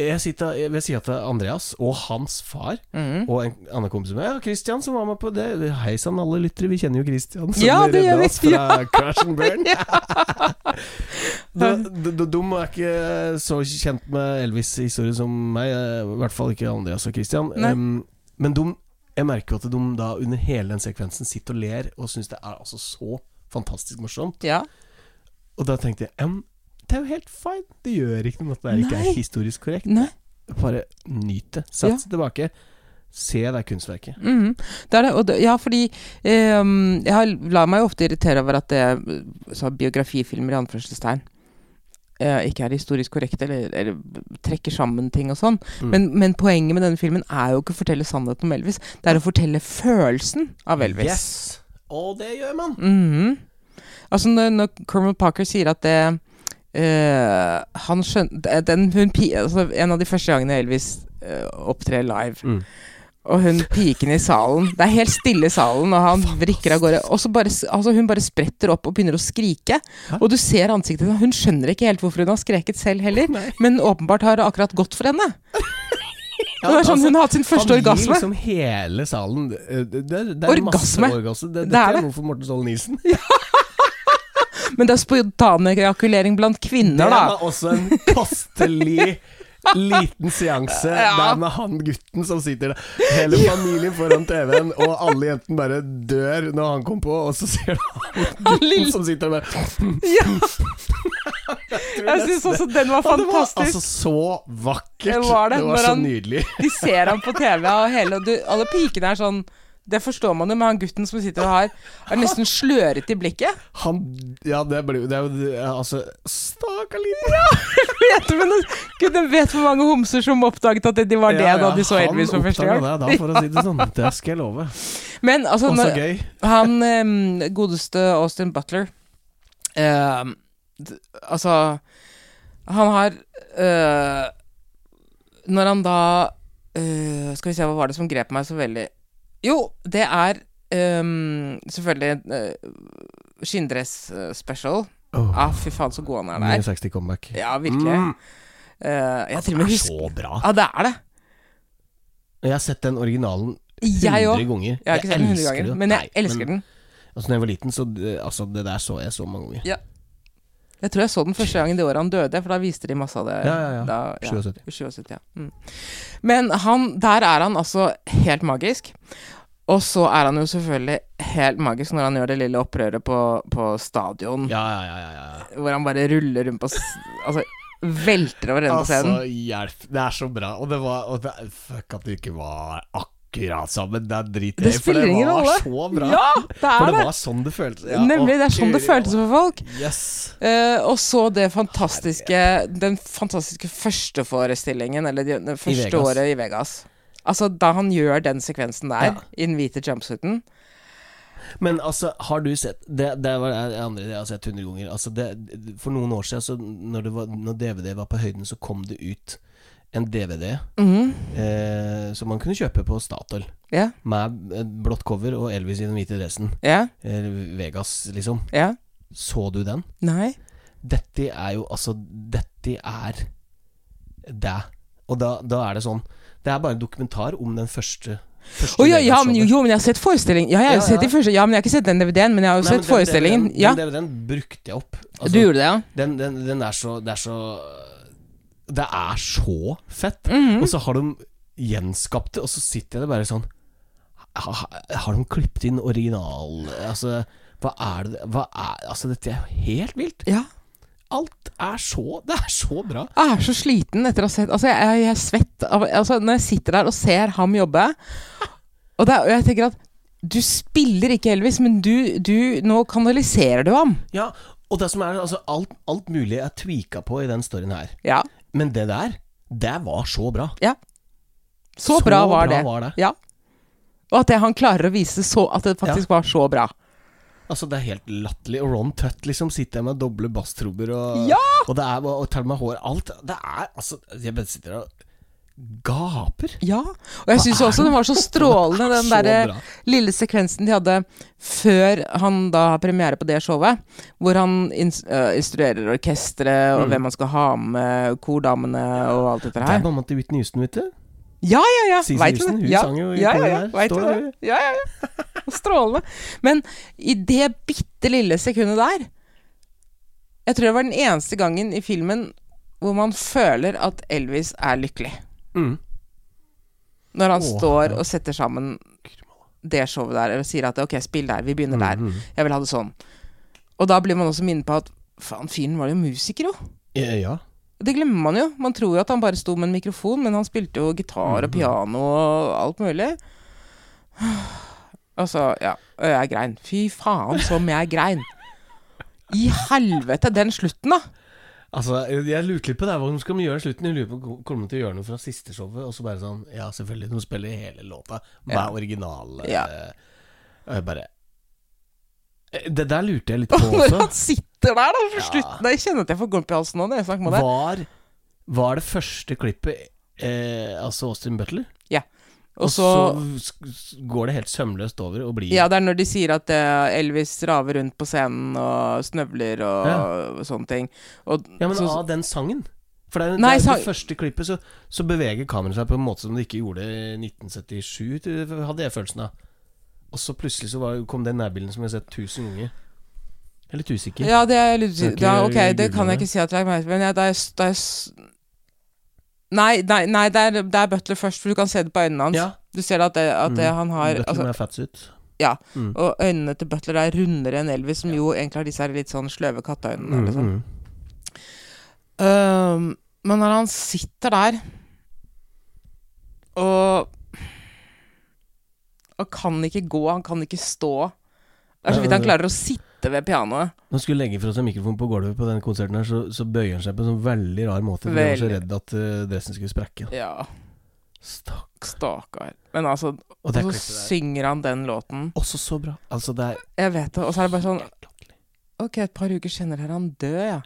jeg sitter jeg ved sida av Andreas og hans far Mhm. og en annen kompis med Ja, Christian som var med på det. Hei sann, alle lyttere, vi kjenner jo Christian. Som [laughs] Ja, det redda gjør vi. oss fra Crash and [laughs] Burn. De, de, de, de er ikke så kjent med Elvis' historie som meg, eh, i hvert fall ikke Andreas og Christian. Nei. Um, men de, jeg merker jo at de da under hele den sekvensen sitter og ler og syns det er altså så fantastisk morsomt. Ja. Og da tenkte jeg em, det er jo helt fine, det gjør ikke noe at det her ikke Nei. er historisk korrekt. Nei. Bare nyt det. Sett deg tilbake. Se det kunstverket. Mhm. Det er det, og det, ja, fordi ehm, jeg har, lar meg jo ofte irritere over at det øh, så biografifilmer i anførselstegn eh, ikke er historisk korrekte, eller, eller trekker sammen ting og sånn. Mm. Men, men poenget med denne filmen er jo ikke å fortelle sannheten om Elvis, det er å fortelle følelsen av Elvis. Yes! Og det gjør man! Mhm. Altså når, når Cormac Parker sier at det eh, Han skjønte den, hun, pi- altså, En av de første gangene Elvis eh, opptrer live. Mm. Og hun piken i salen Det er helt stille i salen, og han vrikker av gårde. Og så bare, s- altså, hun bare spretter opp og begynner å skrike. Og du ser ansiktet hennes. Hun skjønner ikke helt hvorfor hun har skreket selv heller, men åpenbart har det akkurat gått for henne. det var sånn Hun har hatt sin første Han orgasme. gir liksom altså, hele salen eh, Det, det, er- det er Orgasme. masse orgasme. Det, dette er er, det. noe for Morten Ståle Nisen. Men det er spontanejakulering blant liksom. Det kvinner, da. var også en kostelig liten seanse der med han gutten som sitter der. Hele familien foran TV-en, og alle jentene bare dør når han kom på, og så ser du [laughs] han [laughs] gutten lille- som sitter der bare Ja. Jeg syns også den var Ja, Det var fantastisk. altså så vakkert. Det var det, når så han- nydelig. De ser ham på TV, og hele, og du, alle pikene er sånn Det forstår man jo, men han gutten som sitter her, er nesten sløret i blikket. [laughs] Han Ja, det, ble, det er jo ja, Altså, stakkar liten Vet du, men Gud, jeg vet hvor mange homser som oppdaget at de var det Ja, ja, da de så han Elvis for første oppdaget Det, gang. da, for å si det sånn. Det skal jeg love. Men altså, Og så når, gøy. han em, godeste Austin Butler em, d- Altså Han har eh, Når han da eh, Skal vi se, hva var det som grep meg så veldig Jo, det er em, selvfølgelig eh, skinndress-special. Åh. Ah, fy faen, så god han er der. 69 comeback. Ja, virkelig. Eh, jeg til og Det Mm. med er husker så bra. Ja, det er det. Jeg har sett den originalen 100 Jeg òg. ganger. Jeg har ikke sett den hundre elsker ganger, det. men jeg Nei, elsker den. Altså, når jeg var liten, så eh, altså, Det der så jeg så mange ganger. Jeg tror jeg så den første gangen det året han døde, for da viste de masse av det. Ja, ja, ja. Da, 77. 77, ja. Mm. Men han, der er han altså helt magisk. Og så er han jo selvfølgelig helt magisk når han gjør det lille opprøret på, på stadion, Ja, ja, ja. ja, ja. hvor han bare ruller rundt på s- Altså velter over ende på Altså, scenen. hjelp. Det er så bra. Og det var og det, Fuck at det ikke var akkurat sammen. Det er drit Det spiller ingen rolle. For det var så bra. Ja, det for er det det! var sånn det føltes. Ja, Nemlig. å, Det er sånn det guri føltes for folk. malla. Yes. Eh, og så det fantastiske den fantastiske førsteforestillingen, eller det, det første Vegas. året i Vegas. Altså, da han gjør den sekvensen der, i den hvite jumpsuiten Men altså, har du sett Det, det var det andre jeg har sett hundre ganger. Altså det, det- for noen år siden, så når, det var, når DVD var på høyden, så kom det ut en DVD Mhm. eh, som man kunne kjøpe på Statoil. Ja. Med et blått cover og Elvis i den hvite dressen. Ja. Eller Vegas, liksom. Ja. Så du den? Nei. Dette er jo altså Dette er det. Og da, da er det sånn Det er bare en dokumentar om den første, første Å ja, ja, men Vegas-showet. jo, men jeg har sett forestillingen. Ja, jeg har Ja, jo sett ja. de første. Ja, men jeg har ikke sett den DVD-en, men jeg har jo Nei, men sett den forestillingen. DVD-en Ja, Den DVD-en brukte jeg opp. Altså, du gjorde det, ja. den, den, den er så Det er så Det er så fett. Og så har de gjenskapt det, og så sitter jeg der bare sånn ha, ha- Har de klippet inn original Altså, hva er det hva er, Altså, dette er jo helt vilt. Ja. Alt er så [laughs] Det er så bra. Ah, Jeg er så sliten etter å ha sett Altså, jeg, jeg, jeg er svett av altså, Når jeg sitter der og ser ham jobbe Og, det, er- og jeg tenker at du spiller ikke Elvis, men du, du Nå kanaliserer du ham. Ja, og det som er altså, alt, alt mulig er tvika på i den storyen her. Ja. Men det der, det var så bra. Så, Så bra bra var det. var det. Ja. Og at det, han klarer å vise så, at det faktisk var så bra. Altså Det er helt latterlig. Og Ron Tutt liksom sitter der med doble basstrommer og, Ja! og det er bare å telle med hår. Alt Det er altså Jeg bare sitter der og gaper. Ja. Og jeg syns er også den var så [laughs] strålende, Det er den så derre bra. lille sekvensen de hadde før han da har premiere på det showet, hvor han ins øh, instruerer orkesteret og hvem han skal ha med, kordamene og alt dette Det er her. mamma til Whitney Houston, vet du. Ja, ja, ja! Sissy Vet du Houston, det? hun Ja, sang jo i ja, koret ja, ja. der. Vet du Står det? der. Ja, ja, ja. Strålende. Men i det bitte lille sekundet der Jeg tror det var den eneste gangen i filmen hvor man føler at Elvis er lykkelig. Mm. Når han Åh, står og setter sammen det showet der, eller sier at ok, spill der, vi begynner der. Mhm. Jeg vil ha det sånn. Og da blir man også minnet på at faen, fyren var jo musiker, jo. Ja, ja. Det glemmer man jo. Man tror jo at han bare sto med en mikrofon, men han spilte jo gitar Mhm. og piano og alt mulig. [sighs] Og så, ja, og jeg grein. Fy faen som jeg grein. I helvete, den slutten, da. [laughs] Altså, jeg lurte litt på det her, hva de skal gjøre i slutten. Jeg lurer på Kommer de til å gjøre noe fra siste showet? Og så bare sånn Ja, selvfølgelig, de spiller hele låta. Hva er original? Ja. eh, Og jeg bare Eh, Det der lurte [laughs] jeg litt på Når også. han sitter der, da, for slutten. Jeg kjenner at jeg får gulp i halsen nå når jeg snakker med deg. Var, var det første klippet eh, altså Austin Butler? Ja. Og Og så så sk- s- går det helt sømløst over og blir Ja, det er når de sier at eh, Elvis raver rundt på scenen og snøvler og, og sånne ting. Og, Ja, men så, av den sangen. For det er, Nei, det, er sang- det første klippet så, så beveger kameraet seg på en måte som det ikke gjorde i 1977, til- hadde jeg følelsen av. Og så plutselig så var, kom det nærbildet som jeg har sett tusen ganger. Jeg er litt usikker. ja, det er litt Du har ikke ja, Ok, det googlet kan jeg det? ikke si at jeg merker, men jeg, da jeg, s- da jeg s- Nei, nei, nei det, er, det er Butler først, for du kan se det på øynene hans. Ja. Mm. Du ser at, det, at det, han har Butler Mm. altså, med fats ut. Ja. Og øynene til Butler er rundere enn Elvis, som jo egentlig har disse her litt sånn sløve katteøynene. Mm, Liksom. Øhm, men når han sitter der og Og kan ikke gå, han kan ikke stå. Det er så vidt han klarer å sitte ved pianoet. Når han skulle legge fra seg mikrofonen på gulvet på den konserten her, så, så bøyer han seg på en sånn veldig rar måte. For han var så Veldig. redd at eh, dressen skulle sprekke. Ja, Stakk. stakkar. Men altså Og Og det så klippet der. synger han den låten. Også så bra. Altså, det er Jeg vet det. Og så er det bare sånn Ok, et par uker senere er han død, ja.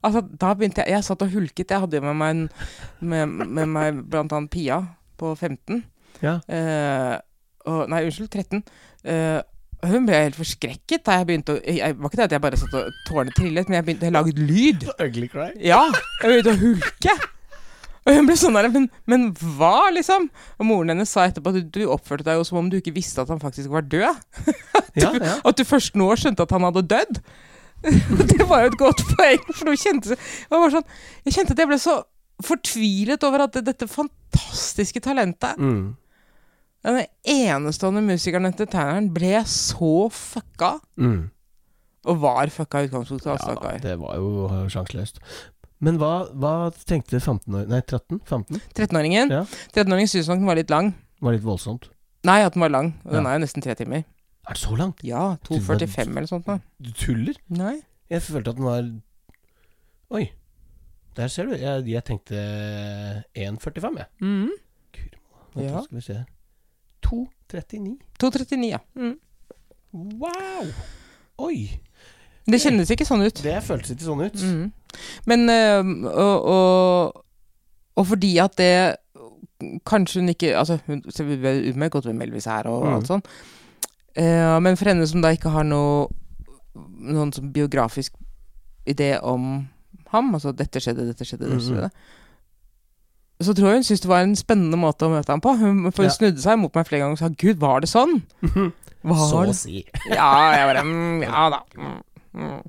Altså, da begynte jeg Jeg satt og hulket. Jeg hadde jo med meg, en, med, med meg blant annet Pia på 15. Ja. Eh, og, nei, unnskyld, 13. Eh, hun ble helt forskrekket da jeg begynte å jeg, var ikke det at jeg bare satt og tårene trillet, men jeg begynte jeg laget lyd. Ugly cry. Ja, jeg begynte å hulke. Og hun ble sånn der, men, men hva, liksom? Og moren hennes sa etterpå at du, du oppførte deg jo som om du ikke visste at han faktisk var død. Ja, ja. [laughs] At du først nå skjønte at han hadde dødd. [laughs] det var jo et godt poeng, for du kjente Jeg var sånn, jeg kjente at jeg ble så fortvilet over at dette fantastiske talentet, Mm. denne enestående musikeren og entertaineren, ble så fucka. Mm. Og var fucka i utgangspunktet, altså. Ja, stakkar. det var jo eh, sjanseløst. Men hva, hva tenkte 15 år Nei, 13? 15? 13-åringen Ja. 13-åringen syntes nok den var litt lang. Var litt voldsomt. Nei, at den var lang. Og den Ja. er jo nesten tre timer. Er det så lang? Ja, 2,45 eller sånt. Da. Du tuller? Nei. Jeg følte at den var Oi. Der ser du. Jeg, jeg tenkte 1,45, jeg. Mhm. Guri malla. Vent, Ja. Skal vi se. 2,39. 2,39, ja. Mm. Wow! Oi! Det kjennes ikke sånn ut. Det føltes ikke sånn ut. Mm. Men eh, og, og, og fordi at det Kanskje hun ikke Altså, hun så vi vet utmerket godt hvem Elvis er og Mm. alt sånn. Eh, men for henne som da ikke har noe noen sånn biografisk idé om ham, altså 'dette skjedde, dette skjedde', Mm-hmm. dette skjedde så tror jeg hun syntes det var en spennende måte å møte ham på. Hun, for hun Ja. Mm-hmm. snudde seg mot meg flere ganger og sa 'Gud, var det sånn?' Var Så å det? si. Ja, jeg bare mm, Ja da. Mm, mm.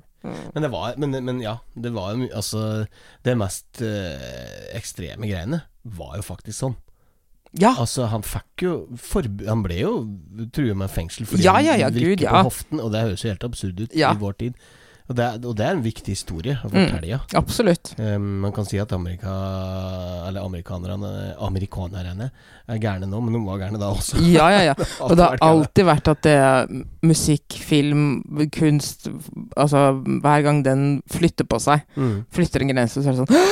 Men det var Men, men ja, det var jo mye Altså, det mest eh, ekstreme greiene var jo faktisk sånn. Ja. Altså, han fikk jo forb Han ble jo truet med fengsel fordi Ja, ja, ja, han vrikker Gud, ja. på hoften, og det høres jo helt absurd ut Ja. Mm. i vår tid. Og det, er, og det er en viktig historie å fortelle, ja. Absolutt. Um, man kan si at Amerika, eller amerikanerne, amerikanerne er gærne nå, men de var gærne da også. [laughs] Ja, ja, ja. Og det har vært gærne. alltid vært at det er musikk, film, kunst Altså, hver gang den flytter på seg, Mm. flytter en grense, så er det sånn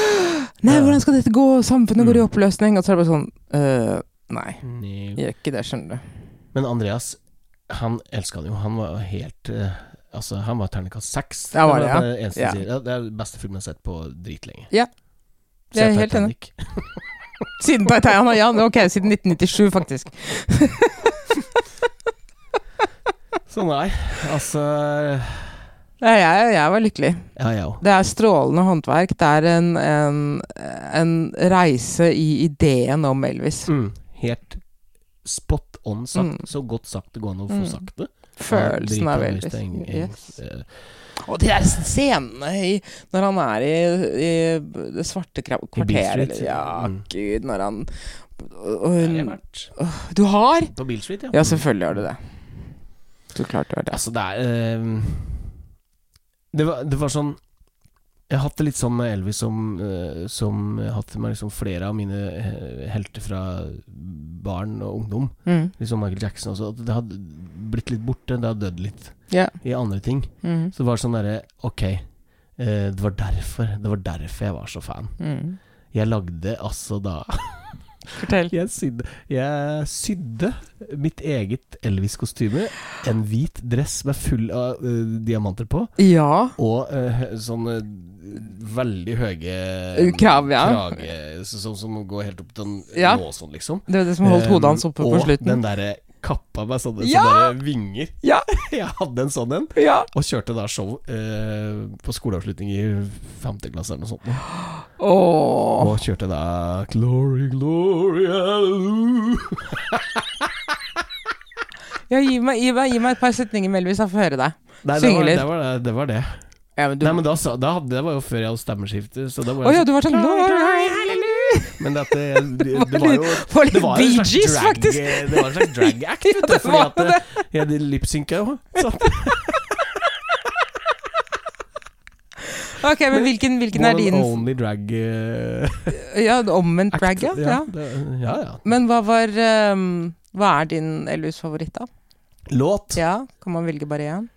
Nei, Ja. hvordan skal dette gå? Samfunnet går i oppløsning. Og så er det bare sånn «Øh, Nei, Nei. gjør ikke det, skjønner du. Men Andreas, han elska det jo. Han var jo helt eh, Altså, han var terningkast seks. Ja, var det, ja. det eneste Ja. jeg sier. Ja, det er den beste filmen jeg har sett på dritlenge. Ja. Se Jeg er helt enig. Titanic. Siden Titanic, ja, ok, siden 1997, faktisk. Så nei, altså Nei, jeg, jeg var lykkelig. Ja, jeg òg. Det er strålende håndverk. Det er en, en, en reise i ideen om Elvis. Mm. Helt spot on sagt. Mm. Så godt sagt det går an å få Mm. sagt det. Følelsen av Drita Elvis. Øystein Eng- Yes. Eng- eh, Og de der scenene i, når han er i, i det svarte kra- kvarteret Street. eller, Ja, Mm. gud, når han og der har jeg hun, vært. Du har? På Beale Street, ja. Ja, selvfølgelig har du det. Så klart du har det. Altså, det er eh, det, var, det var sånn Jeg har hatt det litt sånn med Elvis som, eh, som jeg har hatt med liksom flere av mine eh, helter fra barn og ungdom. Mm. Liksom Michael Jackson også. At det hadde blitt litt borte. Det hadde dødd litt Ja. i andre ting. Mm. Så det var sånn derre Ok, eh, det var derfor Det var derfor jeg var så fan. Mm. Jeg lagde altså da [laughs] Fortell. Jeg sydde, jeg sydde mitt eget Elvis-kostyme. En hvit dress med full av eh, diamanter på. Ja. Og eh, sånne veldig høye Eh, mm, Krav, ja. krage, så- som, som går helt opp til en Ja. nåsen, liksom. Det var det som holdt hodet hans oppe Eh, på Og den slutten. derre kappa med sånne, Ja! sånne vinger. [laughs] Ja. [laughs] Jeg hadde en sånn en, Ja. og kjørte da show eh, på skoleavslutning i femte klasse eller noe sånt. Åh. Og kjørte da Glory, glory, hallelujah. Ja, gi, meg, gi, meg, gi meg et par setninger med Elvis, jeg får høre deg. Nei, det Synge var litt. det. Var det, det, var det. Ja, men du Nei, men da, sa- da, hadde- det var jo før jeg hadde stemmeskifte. Så da var Å jeg ja, sånn- du var sånn Men at det, [laughs] det, det Det var var jo litt- var litt det var jo en Bee slags Gees, drag- faktisk. Det var en slags drag act, vet du. [laughs] det fordi var at eh, det. Ja, de lipsynka [laughs] jo. Så at- Ok, men hvilken, hvilken er One din Only drag eh, Ja, omvendt act. drag, ja. ja. det- ja, ja. Men hva var ehm, Hva er din Elvis-favoritt, da? Låt Ja, Kan man velge bare én?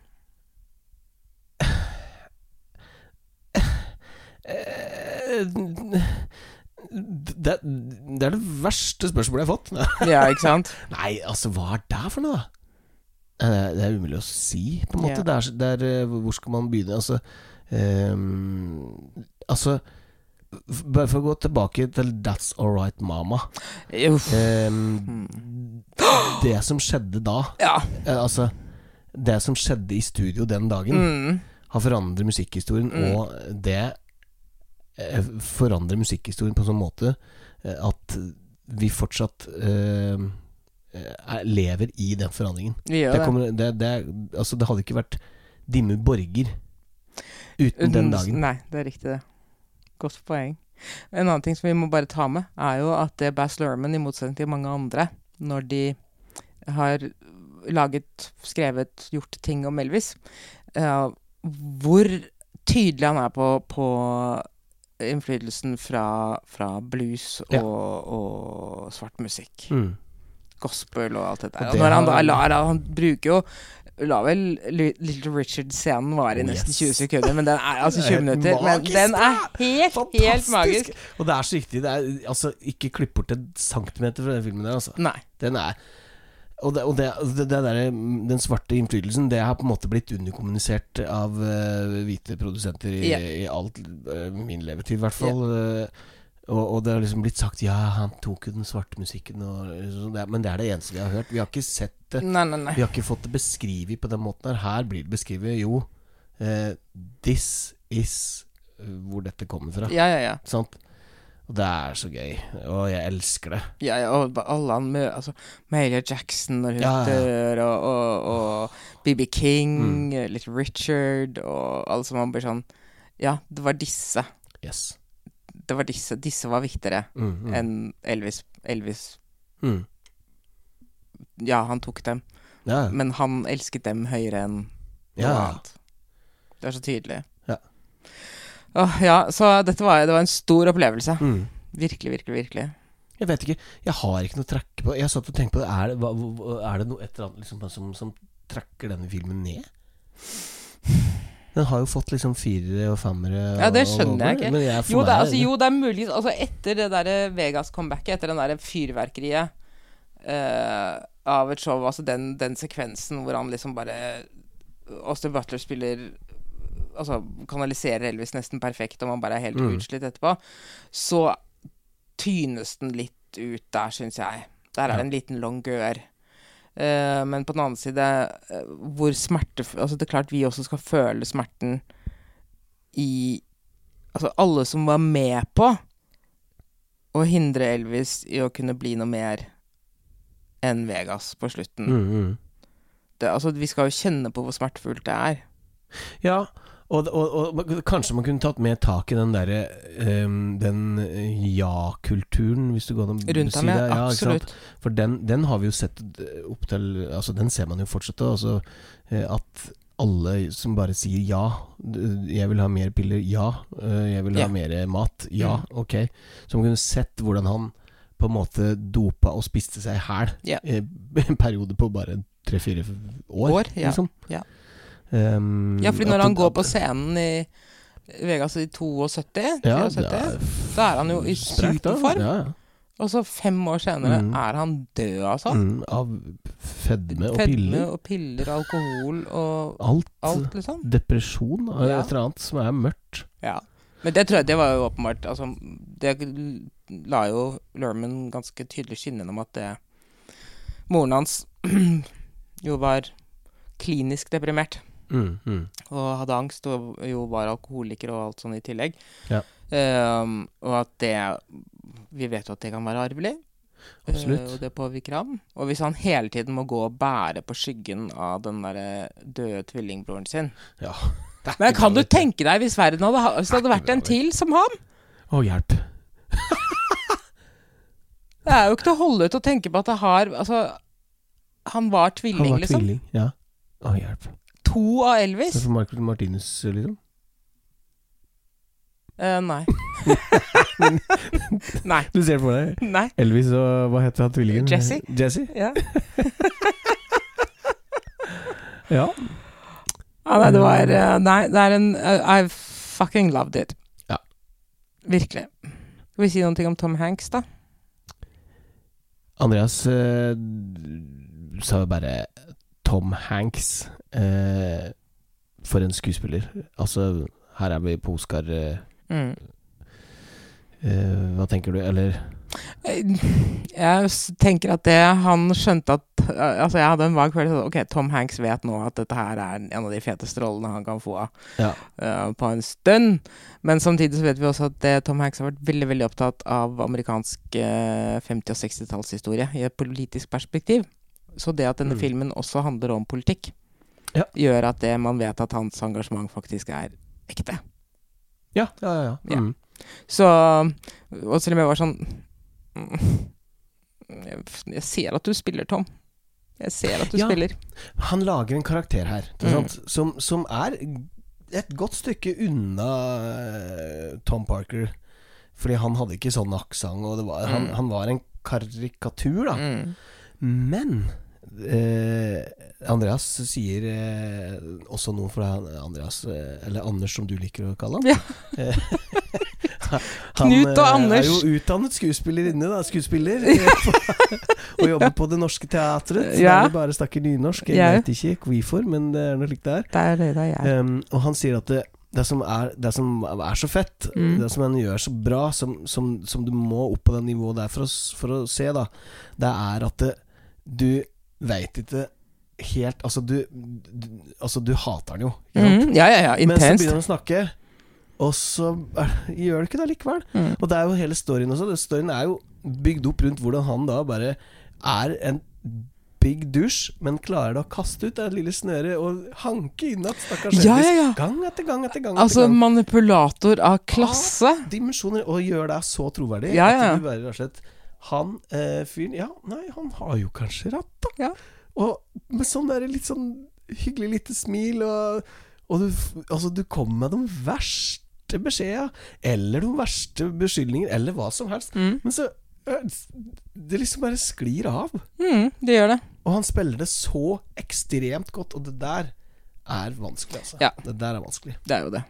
Eh, det, det er det verste spørsmålet jeg har fått. [laughs] Ja, ikke sant? Nei, altså, hva er det for noe, da? Eh, Det er umulig å si, på en måte. Ja. Det er, så- det er, eh, hvor skal man begynne? Altså, ehm, altså f- Bare for å gå tilbake til 'That's Alright Mama'. Uff. Ehm, det som skjedde da, Ja. eh, altså Det som skjedde i studio den dagen, Mm. har forandret musikkhistorien, og det eh, forandrer musikkhistorien på en sånn måte eh, at vi fortsatt eh, er- lever i den forandringen. Vi gjør Det, det. kommer, det, det, altså, det hadde ikke vært Dimmu Borger uten den dagen. Nei, det er riktig, det. Godt poeng. En annen ting som vi må bare ta med, er jo at det Bass Lerman, i motsetning til mange andre, når de har laget, skrevet, gjort ting om Elvis, eh, hvor tydelig han er på, på innflytelsen fra, fra blues og, Ja. og svart musikk Mm. gospel og alt det der. Og Og, det når han da har- lar Han bruker jo La vel Li- Little Richard-scenen vare i Oh, nesten yes. 20 sekunder, men den er altså Det er 20 helt minutter. Men magisk, den er helt, helt Fantastisk! magisk. Og det er så riktig. Det er, altså, ikke klipp bort en centimeter fra den filmen der, altså. Nei. Den er Og, det, og det, det, det der, mm, den svarte innflytelsen Det har på en måte blitt underkommunisert av eh, hvite produsenter i, Ja. i alt eh, min levetid, i hvert fall. Eh, og, og det har liksom blitt sagt Ja, han tok jo den svarte musikken, og, så det, men det er det eneste vi har hørt. Vi har ikke sett det. Nei, nei, nei. Vi har ikke fått det beskrevet på den måten her. Her blir det beskrevet jo eh, This is eh, hvor dette kommer fra. Ja, ja, ja. Sant? Og det er så gøy. Og jeg elsker det. ja, ja og ba- alle han møter altså, Malia Jackson når hun Ja, ja, ja. dør, og, og, og BB King, Mm. eh, litt Richard, og alle som man blir sånn Ja, det var disse. Yes. Det var disse. Disse var viktigere enn Elvis. Elvis Mm. Ja, han tok dem, Ja. men han elsket dem høyere enn noe Ja. annet. Det er så tydelig. Ja. Åh, ja, så dette var, det var en stor opplevelse. Mm. Virkelig, virkelig, virkelig. Jeg vet ikke. Jeg har ikke noe å trekke på. Jeg satt og tenkte på det. Er det, hva, hva- er det noe et eller annet liksom, som, som trekker denne filmen ned? Den har jo fått liksom firere og femmere. Ja, det og- og skjønner jeg over, ikke. Men jeg, for Jo det, er, meg- altså, jo, det er mulig altså, Etter det der Vegas-comebacket, etter den der fyrverkeriet eh, av et show, altså den, den sekvensen hvor han liksom bare eh, Austin Butler spiller Altså kanaliserer Elvis nesten perfekt, og man bare er helt utslitt etterpå, så tynes den litt ut der, syns jeg. Der er det en liten longør. Eh, men på den annen side, eh, hvor smerte Altså, det er klart vi også skal føle smerten i Altså, alle som var med på å hindre Elvis i å kunne bli noe mer enn Vegas på slutten. Mm, mm. Det, altså, vi skal jo kjenne på hvor smertefullt det er. Ja, og, og, og man- kanskje man kunne tatt mer tak i den derre ehm, Den eh, ja-kulturen, hvis du går an å Rundt ham, det. ja. ikke sant? Absolutt. For den, den har vi jo sett eh, opp til Altså, den ser man jo fortsatt. Altså, eh, at alle som bare sier ja d- 'Jeg vil ha mer piller', ja. eh, 'Jeg vil ha Ja. mer mat', ja. Mm. Ok. Så man kunne sett hvordan han på en måte dopa og spiste seg i hæl Ja. eh, en periode på bare tre-fire år, År, ja. liksom. Ja. Ehm, Ja, fordi at når han det- går at- på scenen i Vegas i 72, ja, 73, det er da er han jo i sprekt, da. superform. Ja, ja. Og så fem år senere Mm. er han død, altså. Mm, av fedme og Fedme piller. og piller, alkohol og Alt. alt, liksom. Depresjon og Ja. et eller annet som er mørkt. Ja. Men det tror jeg det var jo åpenbart altså, Det la jo Lerman ganske tydelig skinne om at det Moren hans [clears throat] jo var klinisk deprimert. Mm, mm. og hadde angst, og jo var alkoholiker og alt sånn i tillegg. Ja. Ehm, og at det Vi vet jo at det kan være arvelig. Absolutt. Eh, og det påvirker ham. Og hvis han hele tiden må gå og bære på skyggen av den derre døde tvillingbroren sin Ja. Men kan du tenke deg hvis verden hadde, ha- hvis det hadde vært en til som ham? Å, hjelp. Det er jo ikke til å holde ut å tenke på at det har Altså, han var Han tvilling, var liksom. tvilling. Ja. Å, hjelp. To av Det er Elvis. for Michael Martinus, liksom. Eh, nei. [laughs] nei. Du ser for deg Nei. Elvis og hva heter han tvillingen? Jesse. Jesse? Ja. Ja. Ja, nei, det var eh, Nei, det er en eh, I fucking loved it. Ja. Virkelig. Skal vi si noen ting om Tom Hanks, da? Andreas eh, sa jo bare Tom Hanks. Eh, for en skuespiller. Altså, her er vi på Oscar eh, eh, Hva tenker du? Eller Eh, Jeg s- tenker at det han skjønte at eh, Altså, jeg hadde en vag følelse av at ok, Tom Hanks vet nå at dette her er en av de feteste rollene han kan få Ja. eh, på en stund. Men samtidig så vet vi også at eh, Tom Hanks har vært veldig veldig opptatt av amerikansk eh, 50- og 60-tallshistorie i et politisk perspektiv. Så det at denne filmen også handler om politikk, Mm. Ja. gjør at det man vet at hans engasjement faktisk er ekte. Ja, ja, ja. ja. Ja. Mm. Så Og selv om jeg var sånn mm, jeg, jeg ser at du spiller, Tom. Jeg ser at du Ja. spiller. Han lager en karakter her ikke Mm. sant? Som, som er et godt stykke unna eh, Tom Parker. Fordi han hadde ikke sånn aksent, og det var, han, han var en karikatur, da. Men eh, Andreas sier eh, også noe fra Andreas, eh, eller Anders som du liker å kalle han. Ja. Eh, [laughs] Knut og eh, Anders. er jo utdannet skuespillerinne, da. Skuespiller. eh, [laughs] og jobber på Det Norske Teatret. Så Ja. Der vi bare snakker nynorsk. Jeg Ja. vet ikke hvorfor, men det er noe likt der. Det er det det er. Um, og han sier at det, det, som er, det som er så fett, Mm. det som han gjør så bra, som, som, som du må opp på det nivået der for å, s- for å se, da, det er at det, du veit ikke helt Altså, du, du, altså, du hater han jo. ikke sant? Mm, ja, ja, ja. Men så begynner Intenst. han å snakke, og så er, gjør det ikke det likevel. Mm. Og det er jo hele storyen også. Det- Storyen er jo bygd opp rundt hvordan han da bare er en big douche, men klarer da å kaste ut det lille snøret og hanke inn at stakkars Ja, Elvis ja, ja. gang etter gang etter gang. Altså etter gang. manipulator Ah, av klasse. Dimensjoner, og gjør deg så troverdig Ja, ja. at du bare rett og slett Han eh, fyren Ja, nei, han har jo kanskje rett, da. Ja. Og med sånn der litt sånn hyggelig lite smil, og, og du, f- altså, du kommer med de verste beskjeda, eller de verste beskyldninger, eller hva som helst. Men så eh, s- Det liksom bare sklir av. Mm, det gjør det. Og han spiller det så ekstremt godt, og det der er vanskelig, altså. Ja. Det der er vanskelig. Det er jo det.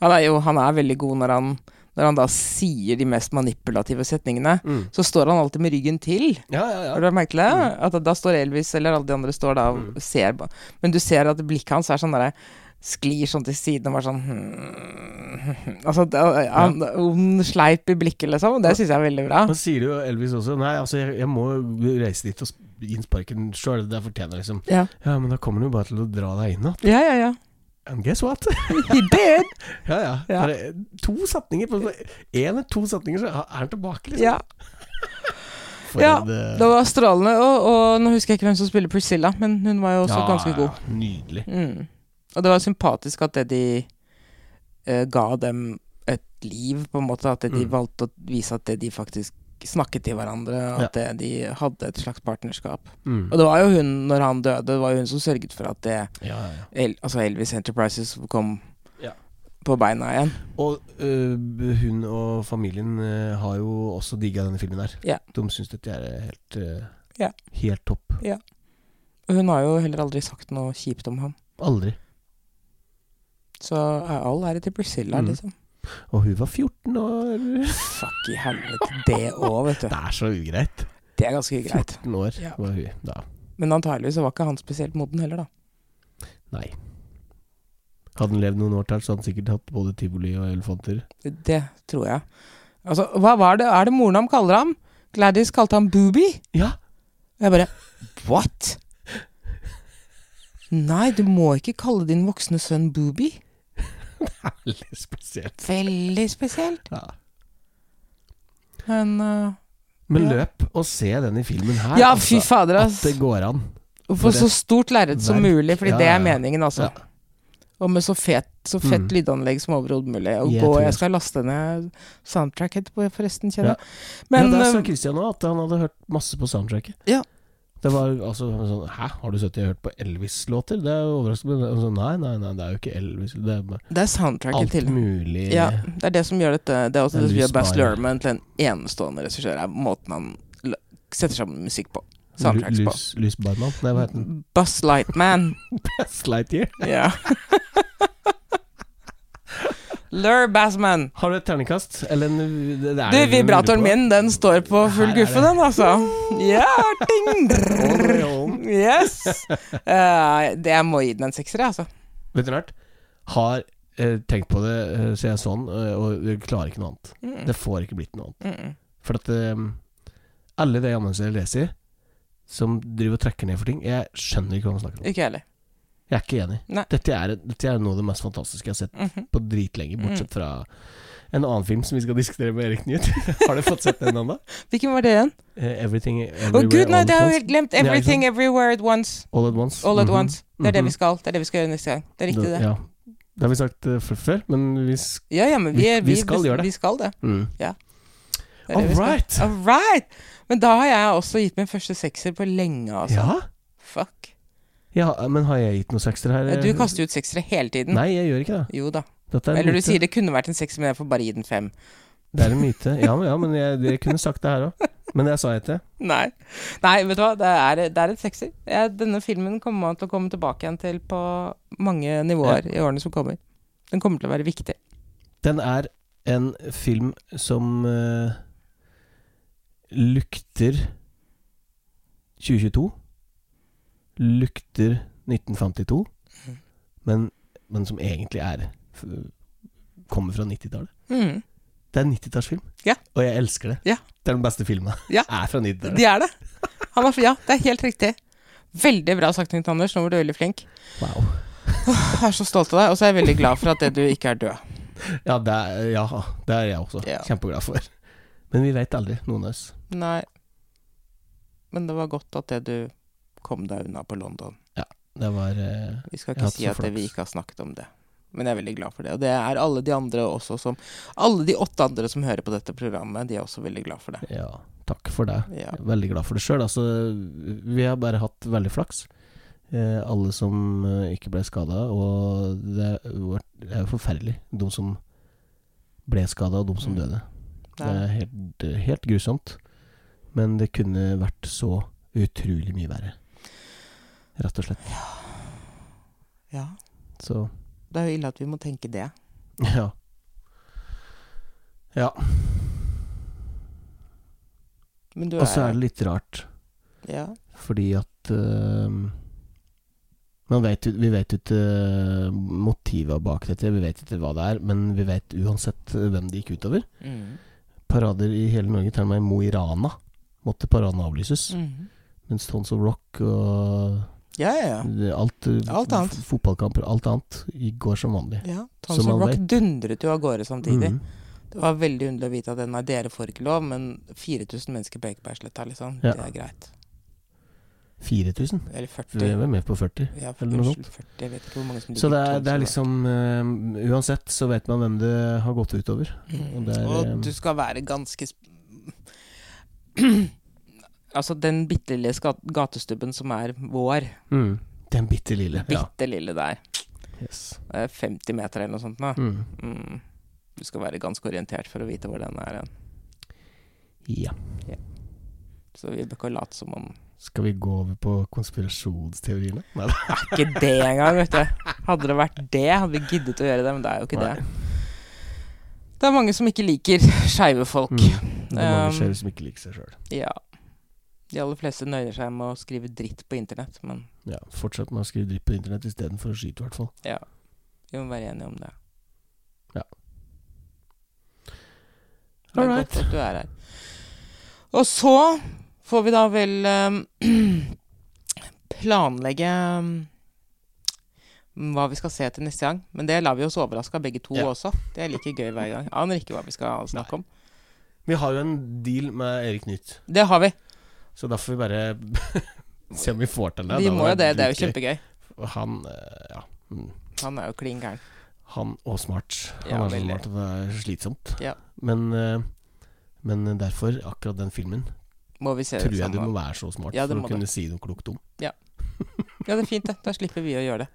Han er jo han er veldig god når han, når han da sier de mest manipulative setningene. Så står han alltid med ryggen til. Mm. Ja, Mm. ja, ja. Har du merket det? At da står Elvis eller alle de andre står da og Mm. ser ba- Men du ser at blikket hans er sånn derre Sklir sånn til siden og bare sånn hmm. Altså, det- han, ond sleip i blikket, liksom. Og Det syns jeg er veldig bra. Men sier jo Elvis også Nei, altså, jeg, jeg må jo reise dit og sp- gi den sparken sjøl. Det fortjener jeg, liksom. Ja, Ja, men da kommer han jo bare til å dra deg inn igjen. ja, ja. ja. And guess what? [laughs] I bed! ja, ja. Ja. Bare to setninger på Én eller to setninger, så er han tilbake, liksom. Ja. For ja. en, eh, Det var strålende. Og, og nå husker jeg ikke hvem som spiller Priscilla, men hun var jo også ja, ganske god. ja, Nydelig. Mm. Og det var sympatisk at det de eh, ga dem et liv, på en måte. At det de Mm. valgte å vise at det de faktisk snakket til hverandre. og At det de hadde et slags partnerskap. Mm. Og det var jo hun, når han døde, det var jo hun som sørget for at det Ja, ja, ja. El, Altså Elvis Enterprises kom Ja. på beina igjen. Og øh, hun og familien øh, har jo også digga denne filmen her. Ja. De syns dette er helt, øh, Ja. helt topp. Og hun har jo heller aldri sagt noe kjipt om ham. Aldri. Så er all ære til Priscilla, Mm. liksom. Og hun var 14 år. Fuck i helvete, det òg, vet du. Det er så ugreit. Det er ganske greit. 14 år Ja. var hun da. Men antagelig så var ikke han spesielt moden heller, da. Nei. Hadde han levd noen år til, så hadde han sikkert hatt både tivoli og elefanter. Det tror jeg. Altså, hva var det Er det moren ham kaller ham? Gladys kalte ham Booby. Ja! Og jeg bare [laughs] What? Nei, du må ikke kalle din voksne sønn Booby. Veldig spesielt. Veldig spesielt. Ja. Men øh, Men Ja. løp og se denne filmen her. Ja, altså, fy fader, ass. At det går an. Få så stort lerret som Verk. mulig, fordi Ja, det ja, er ja. meningen, altså. Ja. Og med så fett, så fett Mm. lydanlegg som overhodet mulig. Og Jeg gå, tror jeg jeg skal laste ned soundtrack etterpå, forresten, Ja. kjenner jeg. ja, Men der sa øh, Christian òg at han hadde hørt masse på soundtracket. Ja. Det var altså sånn Hæ, har du sett jeg har hørt på Elvis-låter? Det er jo overraskende. men altså, Nei, nei, nei, det er jo ikke Elvis. Det er bare det er soundtracket alt til. mulig Ja, det er det som gjør dette Det er også det som Elvis gjør Baz Meyer. Luhrmann til en enestående regissør, er måten han l- setter sammen musikk på. Lu- Soundtracks på. lys, Lysbarmann. Nei, hva [laughs] heter den? [laughs] Buzz Lightman. Slightyear. Ja. Lur Bassman. Har du et terningkast? Eller en det- det er Du, det vi lurer vibratoren på. min, den står på full Her er guffe, det. den, altså. Ja, ding! Yes! Eh, det, jeg må gi den en sekser, jeg, altså. Vet du nært Har eh, tenkt på det eh, Så jeg sånn eh, Og jeg klarer ikke noe annet Det får ikke blitt noe annet Mm. For at eh, Alle de anmeldelser jeg leser Som driver og trekker ned for ting Jeg skjønner ikke hva man snakker om Ikke jeg heller. Jeg er ikke enig Nei. dette er, dette er noe av det mest fantastiske jeg har sett Mhm. På dritlenge Bortsett fra En annen film som vi skal [laughs] diskutere med Erik Nytt Har du fått sett den enda? Hvilken var det igjen? Eh, Everything Å Everywhere gud, nei, all, det at har jeg once. helt glemt. ikke Everything, everywhere at once. all at once All at Mhm. once. Det er det Mhm. vi skal. Det er det vi skal gjøre neste gang. Det er riktig, det. Ja Det har vi sagt eh, f- før Men vi sk- Ja, ja, men vi, Vi- er- vi skal gjøre det. Vi skal det. mm. det, er det vi skal. Alright. All right! Men da har jeg også gitt min første sekser på lenge, altså. Ja Fuck. Ja, men har jeg gitt noen sekser her? Du kaster ut seksere hele tiden. Eh, Nei, jeg gjør ikke det. Jo da. Dette er en Eller du myte. sier det kunne vært en sekser, men jeg får bare gi den fem. Det er en myte. Ja, men, ja, men jeg, jeg kunne sagt det her òg. Men det sa jeg ikke. Nei. Nei, vet du hva, det er, det er et sexy. Jeg, denne filmen kommer man til å komme tilbake igjen til på mange nivåer i årene som kommer. Den kommer til å være viktig. Den er en film som eh, lukter 2022. Lukter 1952. Men, men som egentlig er f- Kommer fra 90-tallet. Mm. Det er en 90-tallsfilm, Ja. og jeg elsker det. Ja. Det er den beste filmen. Ja. [laughs] er fra 90-tallet. De er det. Han er, ja, det er helt riktig. Veldig bra sagt, Knut Anders. Nå var du veldig flink. Wow. Jeg er så stolt av deg, og så er jeg veldig glad for at det du ikke er død. Ja, det er, ja, det er jeg også Ja. kjempeglad for. Men vi veit aldri, noen av oss. Nei. Men det var godt at det du kom deg unna på London. Det var eh, Vi skal Jeg har ikke hatt si så at det, vi flaks. ikke har snakket om det. Men jeg er veldig glad for det. Og det er alle de andre også som Alle de åtte andre som hører på dette programmet, de er også veldig glad for det. Ja, takk for det. Ja. Jeg er Veldig glad for det sjøl. Altså, vi har bare hatt veldig flaks. Eh, alle som eh, ikke ble skada, og det er jo- det er jo forferdelig. De som ble skada, og de som Mm. døde. Det Det er er helt, helt grusomt. Men det kunne vært så utrolig mye verre. Rett og slett. Ja. Så [laughs] Det er jo ille at vi må tenke det. ja. Ja. Men du Og så er det litt rart. ja. Fordi at øhm, man vet, jo- Vi vet jo ikke eh, motivet bak dette, vi vet ikke hva det er, men vi vet uansett eh, hvem det gikk utover. Mm. Parader i hele Norge, til og med i Mo i Rana, måtte paradene avlyses. Mhm. Mens Tons of Rock og Ja, ja, Mm. ja. alt, eh, Alt annet. f- Fotballkamper, alt annet, i går som vanlig. ja. Som Tons man of Rock vet. dundret jo av gårde samtidig. Mhm. Det var veldig underlig å vite at nei, dere får ikke lov, men 4000 mennesker på Ekebergsletta, liksom. Ja. Det er greit. 4000. Vi Eller 40. er med på 40. Ja, eller noe unnskyld, 40. Jeg vet ikke hvor mange som Så det ligger i er, det er Tons of liksom øhm, Uansett så vet man hvem det har gått utover. Rock. og det er, Og ehm, du skal være ganske sp [clears throat] Altså, den bitte lille skat- gatestubben som er vår, Mm. Den bitte lille. Ja. bitte lille der, Yes. det er 50 meter eller noe sånt nå. Mm. Mm. Du skal være ganske orientert for å vite hvor den er hen. Ja. Så vi bør ikke late som om Skal vi gå over på konspirasjonsteoriene? Nei da. ikke det engang, vet du. Hadde det vært det, hadde vi giddet å gjøre det, men det er jo ikke Nei. det. Det er mange som ikke liker skeive folk. Mm. Det er mange Um, skeive som ikke liker seg sjøl. Ja. De aller fleste nøyer seg med å skrive dritt på internett, men Ja, fortsett med å skrive dritt på internett istedenfor å skyte, i hvert fall. ja. Vi må være enige om det. Ja. Det er Alright. godt at du er her. Og så får vi da vel eh, [clears throat] planlegge eh, hva vi skal se til neste gang. Men det lar vi oss overraske av begge to Ja. også. Det er like gøy hver gang. Aner ikke hva vi skal snakke om. Vi har jo en deal med Erik Nytt, Det har vi. så da får vi bare [laughs] se om vi får til det. Vi Da må jo var det. Det er jo dritgøy. kjempegøy. Og Han eh, ja. mm, Han er jo klin gæren. Han og smart. Han Ja, er så veldig. smart at det er slitsomt. Ja. Men, eh, men derfor, akkurat den filmen, Må vi se tror det jeg du må sammen. være så smart Eh, Ja, det for må å du. kunne si noe klokt om. Ja, det er fint, det. Da slipper vi å gjøre det.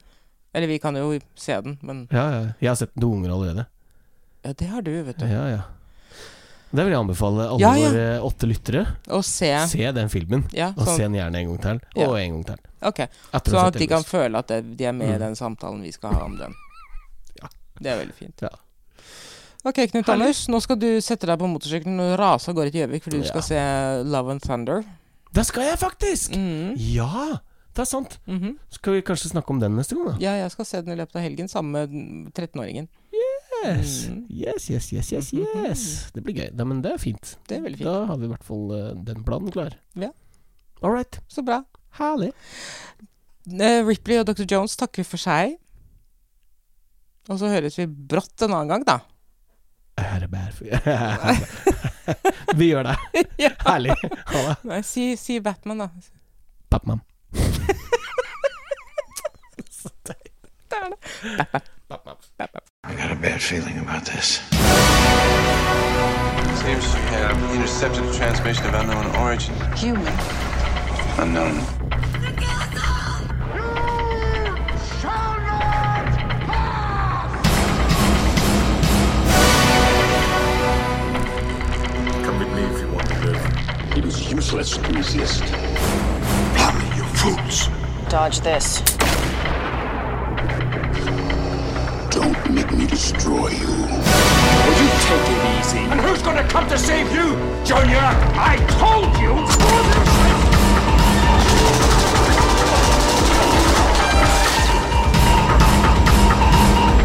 Eller vi kan jo se den, men Ja, ja. Jeg har sett den til unger allerede. Ja, det har du, vet du. Ja, ja. Det vil jeg anbefale alle Ja, ja. våre åtte lyttere. Å se. Se den filmen, Ja, og se sånn. den gjerne en gang til. Ja. Og en gang til. Ok. Etter å Så ha at sett de kan Elvis. føle at det- de er med i Mm. den samtalen vi skal ha om den. Ja. Det er veldig fint. Ja. Ok, Knut Anders, nå skal du sette deg på motorsykkelen og rase av gårde til Gjøvik, for du Ja. skal se Love and Thunder. Det skal jeg faktisk! Mm. Ja! Det er sant. Mhm. Skal vi kanskje snakke om den neste gang, da? Ja, jeg skal se den i løpet av helgen sammen med 13-åringen. Yes. Mm. Mhm. yes, yes, yes, yes, yes. Det blir gøy. Nei, men det er fint. Det er veldig fint. Da har vi i hvert fall eh, den planen klar. Ja. All right. Så bra. [laughs] Herlig. Eh, Ripley og Dr. Jones takker for seg. Og så høres vi brått en annen gang, da. Er det bare for [laughs] Vi gjør det. Ja. Herlig. Ha det. Nei, si, si Batman, da. Batman. Det er det. Batman. I got a bad feeling about this. Seems to have intercepted a transmission of unknown origin. Unknown. Come with me if you want to live. It is useless to resist. Hurry, you fools! Dodge this. Don't make me destroy you. Will you take it easy? And who's gonna come to save you, Junior? I told you!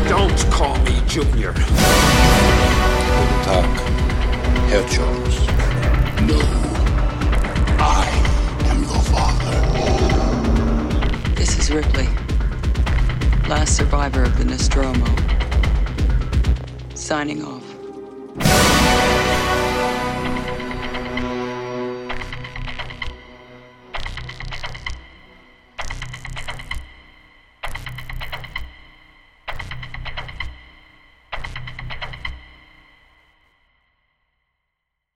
Don't call me Junior. Tag, Herr Jones. No. I am your father. This is Ripley, last survivor of the Nostromo. Signing off.